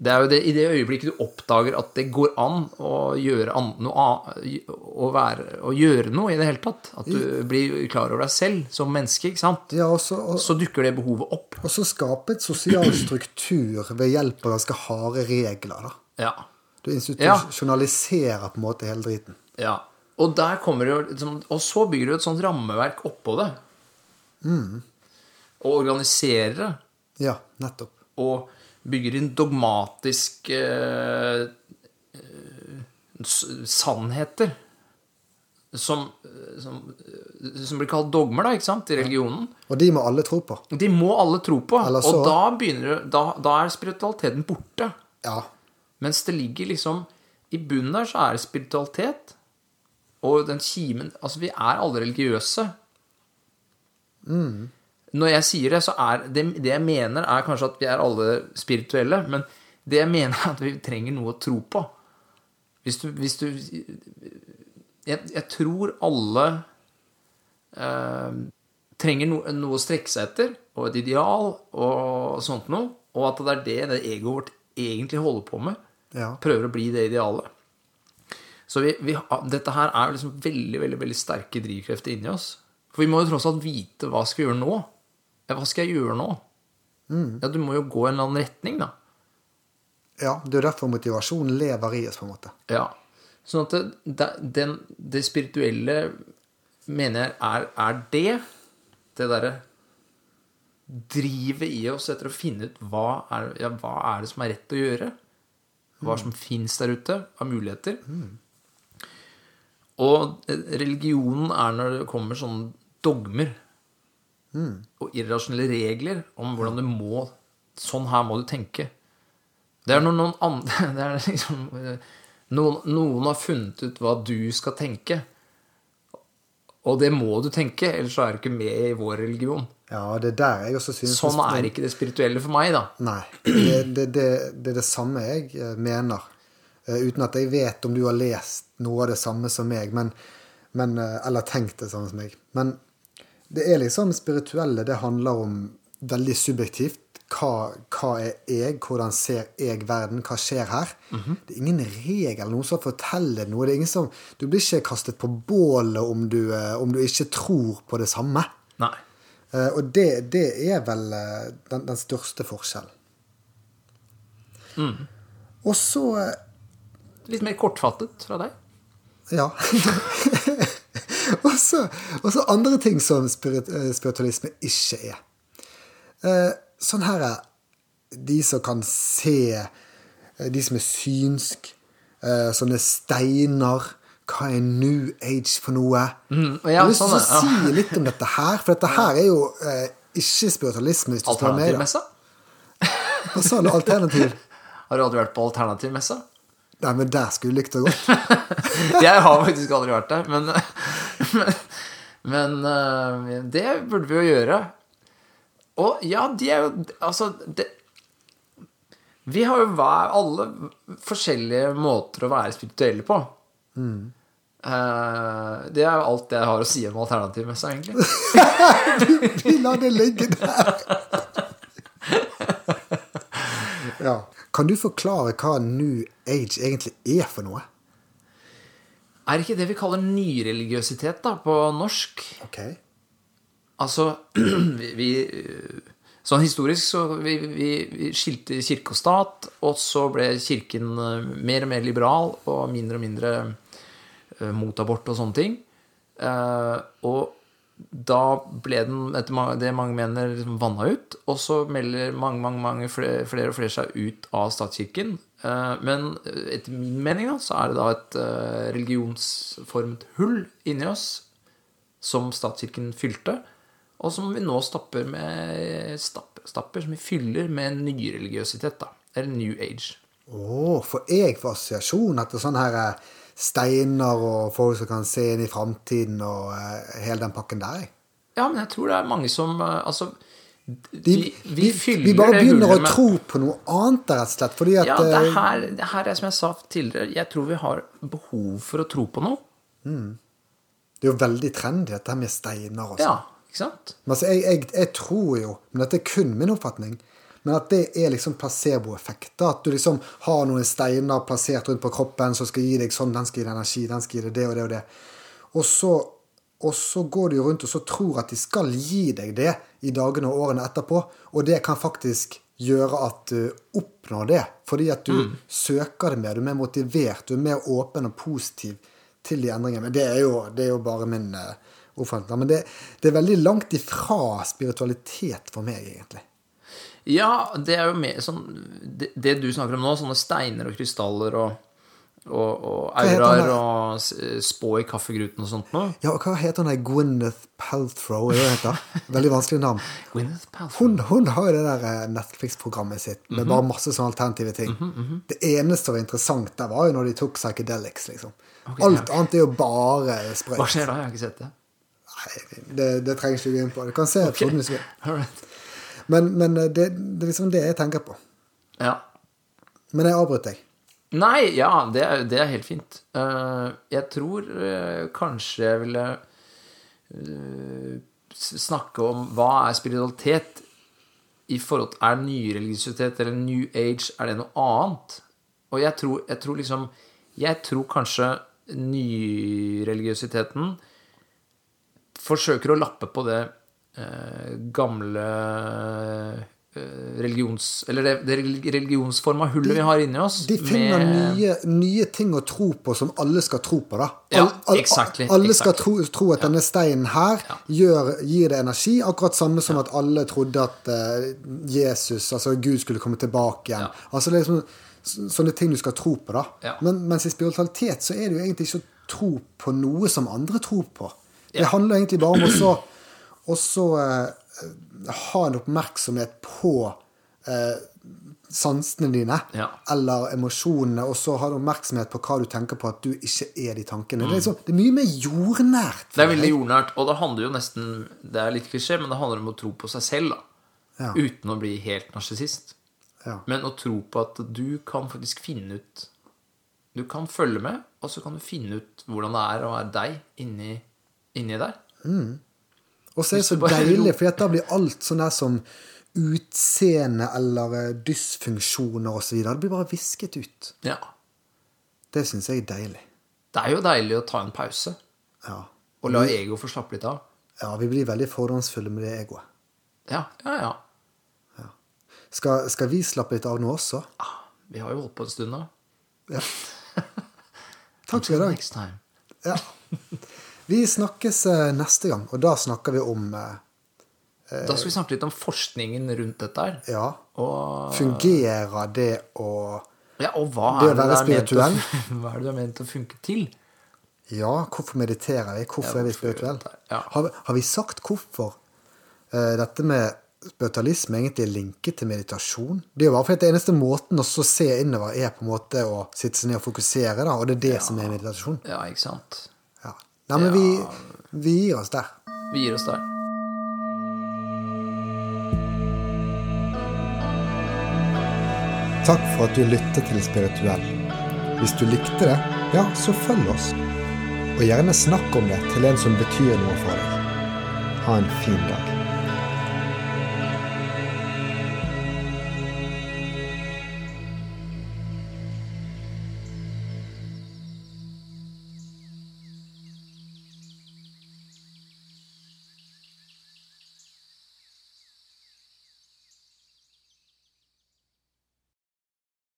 [SPEAKER 2] Det er jo det, i det øyeblikket du oppdager at det går an å gjøre, an, noe, an- å være, å gjøre noe i det hele tatt, at du blir klar over deg selv som menneske, ikke sant?
[SPEAKER 1] Ja, også, og,
[SPEAKER 2] så dukker det behovet opp.
[SPEAKER 1] og så skape et sosial struktur ved hjelp av ganske harde regler. da.
[SPEAKER 2] Ja.
[SPEAKER 1] Du
[SPEAKER 2] Ja.
[SPEAKER 1] institusjonaliserer på en måte hele driten.
[SPEAKER 2] Ja. Og der kommer det jo liksom, Og så bygger du et sånt rammeverk oppå det. Mm. Og organiserer det.
[SPEAKER 1] Ja, nettopp.
[SPEAKER 2] Og bygger inn dogmatisk eh, eh, s- sannheter. Som, som, eh, som blir kalt dogmer, da, ikke sant, i religionen.
[SPEAKER 1] Og de må alle tro på.
[SPEAKER 2] De må alle tro på.
[SPEAKER 1] Eller så-
[SPEAKER 2] Og da, begynner, du- da, da er spiritualiteten borte.
[SPEAKER 1] Ja.
[SPEAKER 2] Mens det ligger liksom I bunnen der så er det spiritualitet. Og den kimen Altså, vi er alle religiøse. Når jeg sier det, så er det, det jeg mener, er kanskje at vi er alle spirituelle. Men det jeg mener, er at vi trenger noe å tro på. Hvis du, hvis du jeg, jeg tror alle eh, trenger no, noe å strekke seg etter, og et ideal og sånt noe. Og at det er det, det egoet vårt egentlig holder på med.
[SPEAKER 1] Ja.
[SPEAKER 2] Prøver å bli det idealet. Så vi, vi, har- dette her er liksom veldig, veldig, veldig sterke drivkrefter inni oss. For vi må jo tross alt vite hva skal jeg gjøre nå. Ja, Hva skal jeg gjøre nå? Ja, du må jo gå i en eller annen retning, da.
[SPEAKER 1] ja. Det er jo derfor motivasjonen lever i oss, på en måte.
[SPEAKER 2] Ja. Sånn at det, det- den, det spirituelle mener jeg er, er det. Det derre drivet i oss etter å finne ut hva er, ja, hva er det som er rett å gjøre. Hva som fins der ute av muligheter. Og eh, religionen er når det kommer sånne dogmer og irrasjonelle regler om hvordan du må Sånn her må du tenke. Det er når noen andre det er liksom, eh, noen, noen har funnet ut hva du skal tenke. Og det må du tenke, ellers så er du ikke med i vår religion.
[SPEAKER 1] Ja, det er der jeg også synes
[SPEAKER 2] Sånn er ikke det spirituelle for meg, da.
[SPEAKER 1] Nei. Det, det, det, det er det samme jeg eh, mener. Eh, Uten at jeg vet om du har lest noe av det samme som meg, men, men eh, Eller tenkt det samme som meg. Men det er liksom spirituelle, det handler om veldig subjektivt. Hva, hva er jeg? Hvordan ser jeg verden? Hva skjer her? Det er ingen regel, noen som forteller noe. Det er ingen som, du blir ikke kastet på bålet om du, eh, om du ikke tror på det samme.
[SPEAKER 2] Nei.
[SPEAKER 1] Eh, Og det, det er vel eh, den, den største forskjellen.
[SPEAKER 2] Mm.
[SPEAKER 1] Og så eh,
[SPEAKER 2] Litt mer kortfattet fra deg.
[SPEAKER 1] Ja. og så og så andre ting som spirit, eh, spiritualisme ikke er. Eh, Sånn her er de som kan se, eh, de som er synsk, eh, sånne steiner Hva er New Age for noe?
[SPEAKER 2] og ja,
[SPEAKER 1] jeg har lyst til å
[SPEAKER 2] sånn, ja.
[SPEAKER 1] si litt om dette her, for dette her er jo eh, ikke spiritualisme. hvis du spør meg. da.
[SPEAKER 2] Alternativmessa?
[SPEAKER 1] Hva sa du? Alternativ?
[SPEAKER 2] Har du aldri vært på alternativmessa?
[SPEAKER 1] Nei, men der skulle du likt å gå.
[SPEAKER 2] Jeg har faktisk aldri vært der, men Men, eh, men eh, det burde vi jo gjøre. Og ja, de er jo Altså, det Vi har jo hver, alle forskjellige måter å være spirituelle på. Eh, det er jo alt jeg har å si om alternativmessa, egentlig.
[SPEAKER 1] Vi lar det ligge der. Ja. Kan du forklare hva New Age egentlig er for noe?
[SPEAKER 2] Er ikke det vi kaller nyreligiøsitet da, på norsk?
[SPEAKER 1] Ok.
[SPEAKER 2] Altså, vi, vi Sånn historisk så vi, vi, vi skilte kirke og stat, og så ble kirken eh, mer og mer liberal og mindre og mindre eh, mot abort og sånne ting. Eh, Og da ble den, etter ma- det mange mener, liksom vanna ut. Og så melder mange, mange, mange flere, flere og flere seg ut av statskirken. Eh, Men eh, etter min mening da, så er det da et eh, religionsformet hull inni oss som statskirken fylte, og som vi nå stapper med stapper, stapper som vi fyller med nyreligiøsitet, da. Eller New Age.
[SPEAKER 1] Å, for jeg får assosiasjon etter sånne her eh, steiner og folk som kan se inn i framtiden og eh, hele den pakken der. jeg.
[SPEAKER 2] Ja, men jeg tror det er mange som eh, Altså, vi, vi, fyller
[SPEAKER 1] vi bare
[SPEAKER 2] det
[SPEAKER 1] begynner
[SPEAKER 2] hullet
[SPEAKER 1] å
[SPEAKER 2] med-
[SPEAKER 1] tro på noe annet, rett og slett. Fordi at
[SPEAKER 2] Ja, det
[SPEAKER 1] eh,
[SPEAKER 2] her, det her er som jeg sa tidligere, jeg tror vi har behov for å tro på noe.
[SPEAKER 1] det er jo veldig trendy, dette her med steiner og sånn.
[SPEAKER 2] Ja, ikke sant?
[SPEAKER 1] Men altså, jeg, jeg, jeg tror jo, men dette er kun min oppfatning, men at det er liksom placeboeffekt. da. At du liksom har noen steiner plassert rundt på kroppen som skal gi deg sånn, den skal gi deg energi, den skal gi deg det og det og det. Og så, og så går du jo rundt og så tror at de skal gi deg det i dagene og årene etterpå, og det kan faktisk gjøre at du oppnår det. Fordi at du søker det mer, du er mer motivert, du er mer åpen og positiv til de endringene. Men det er jo, det er jo bare min eh, oppfatning. Men det, det er veldig langt ifra spiritualitet for meg, egentlig.
[SPEAKER 2] Ja, det er jo mer sånn Det, det du snakker om nå, sånne steiner og krystaller og, og, og
[SPEAKER 1] heter han
[SPEAKER 2] auraer
[SPEAKER 1] der?
[SPEAKER 2] og s- eh, spå i kaffegruten og sånt noe.
[SPEAKER 1] Ja, og hva heter hun der Gwyneth Palthrow? Er det hun heter? Veldig vanskelig navn.
[SPEAKER 2] Gwyneth Paltrow.
[SPEAKER 1] Hun, hun har jo det der eh, Netflix-programmet sitt med bare masse sånne alternative ting. Det eneste som var interessant der, var jo når de tok psychedelics, liksom. Alt annet er jo bare
[SPEAKER 2] Hva
[SPEAKER 1] sprøyt.
[SPEAKER 2] skjer da? Jeg har ikke sett det.
[SPEAKER 1] Nei, Det, det trenger ikke vi gå inn på. Du kan se episoden hvis du vil.
[SPEAKER 2] All right.
[SPEAKER 1] Men, men eh, det, det er liksom det jeg tenker på.
[SPEAKER 2] Ja.
[SPEAKER 1] Men jeg avbrøt deg.
[SPEAKER 2] Nei, ja, det er, det er helt fint. Eh, jeg tror eh, kanskje jeg ville eh, s- snakke om hva er spiritualitet i forhold til Er ny religiøsitet eller new age, er det noe annet? Og jeg tror, jeg tror liksom Jeg tror kanskje nyreligiøsiteten forsøker å lappe på det eh, gamle eh, religions... Eller det, det religionsforma hullet vi har inni oss.
[SPEAKER 1] De finner
[SPEAKER 2] med-
[SPEAKER 1] nye, nye ting å tro på som alle skal tro på, da.
[SPEAKER 2] Ja, exactly,
[SPEAKER 1] alle skal
[SPEAKER 2] exactly.
[SPEAKER 1] tro, tro at denne steinen her gjør, gir det energi, akkurat samme som at alle trodde at eh, Jesus, altså Gud, skulle komme tilbake igjen.
[SPEAKER 2] Ja.
[SPEAKER 1] Altså det er sånn- så- sånne ting du skal tro på, da.
[SPEAKER 2] Ja.
[SPEAKER 1] Men, mens i spiritualitet så er det jo egentlig ikke å tro på noe som andre tror på. Det handler egentlig bare om å så, å så eh, ha en oppmerksomhet på eh, sansene dine
[SPEAKER 2] Ja.
[SPEAKER 1] eller emosjonene, og så har du oppmerksomhet på hva du tenker på, at du ikke er de tankene. Det, er liksom, det er mye mer jordnært.
[SPEAKER 2] Det er veldig jordnært, og det handler jo nesten Det er litt klisjé, men det handler om å tro på seg selv, da.
[SPEAKER 1] Ja.
[SPEAKER 2] Uten å bli helt narsissist.
[SPEAKER 1] Ja.
[SPEAKER 2] Men å tro på at du kan faktisk finne ut Du kan følge med, og så kan du finne ut hvordan det er å være deg inni, inni der.
[SPEAKER 1] Og så er det så
[SPEAKER 2] du bare-
[SPEAKER 1] deilig, for da blir alt sånn der som utseende eller eh, dysfunksjoner osv. Det blir bare visket ut.
[SPEAKER 2] Ja.
[SPEAKER 1] Det syns jeg er deilig.
[SPEAKER 2] Det er jo deilig å ta en pause
[SPEAKER 1] Ja.
[SPEAKER 2] og la ego få slappe litt av.
[SPEAKER 1] ja, vi blir veldig fordomsfulle med det egoet.
[SPEAKER 2] Ja, ja, ja.
[SPEAKER 1] Skal, skal vi slappe litt av nå også?
[SPEAKER 2] Ah, Vi har jo holdt på en stund nå.
[SPEAKER 1] Takk skal du ha.
[SPEAKER 2] Next time.
[SPEAKER 1] Ja. Vi snakkes eh, neste gang, og da snakker vi om eh,
[SPEAKER 2] Da skal vi snakke litt om forskningen rundt dette her.
[SPEAKER 1] Ja, Ah.
[SPEAKER 2] Og
[SPEAKER 1] fungerer det å
[SPEAKER 2] Ja, og hva
[SPEAKER 1] Det å
[SPEAKER 2] er det,
[SPEAKER 1] være
[SPEAKER 2] det er ment å, hva er det du er ment å funke til?
[SPEAKER 1] Ja, hvorfor mediterer vi? Hvorfor er vi spirituelle?
[SPEAKER 2] Ja.
[SPEAKER 1] Har, vi- har vi sagt hvorfor eh, dette med spiritualisme egentlig er linket til meditasjon? Det er jo bare fordi at det eneste måten å så se innover er på en måte å sitte seg ned og fokusere, da, og det er det som er meditasjon.
[SPEAKER 2] Ja, ikke sant?
[SPEAKER 1] Ja. Nei, men vi, vi gir oss der.
[SPEAKER 2] Vi gir oss der.
[SPEAKER 1] Takk for at du lyttet til Spirituell. Hvis du likte det, ja, så følg oss. Og gjerne snakk om det til en som betyr noe for deg. Ha en fin dag.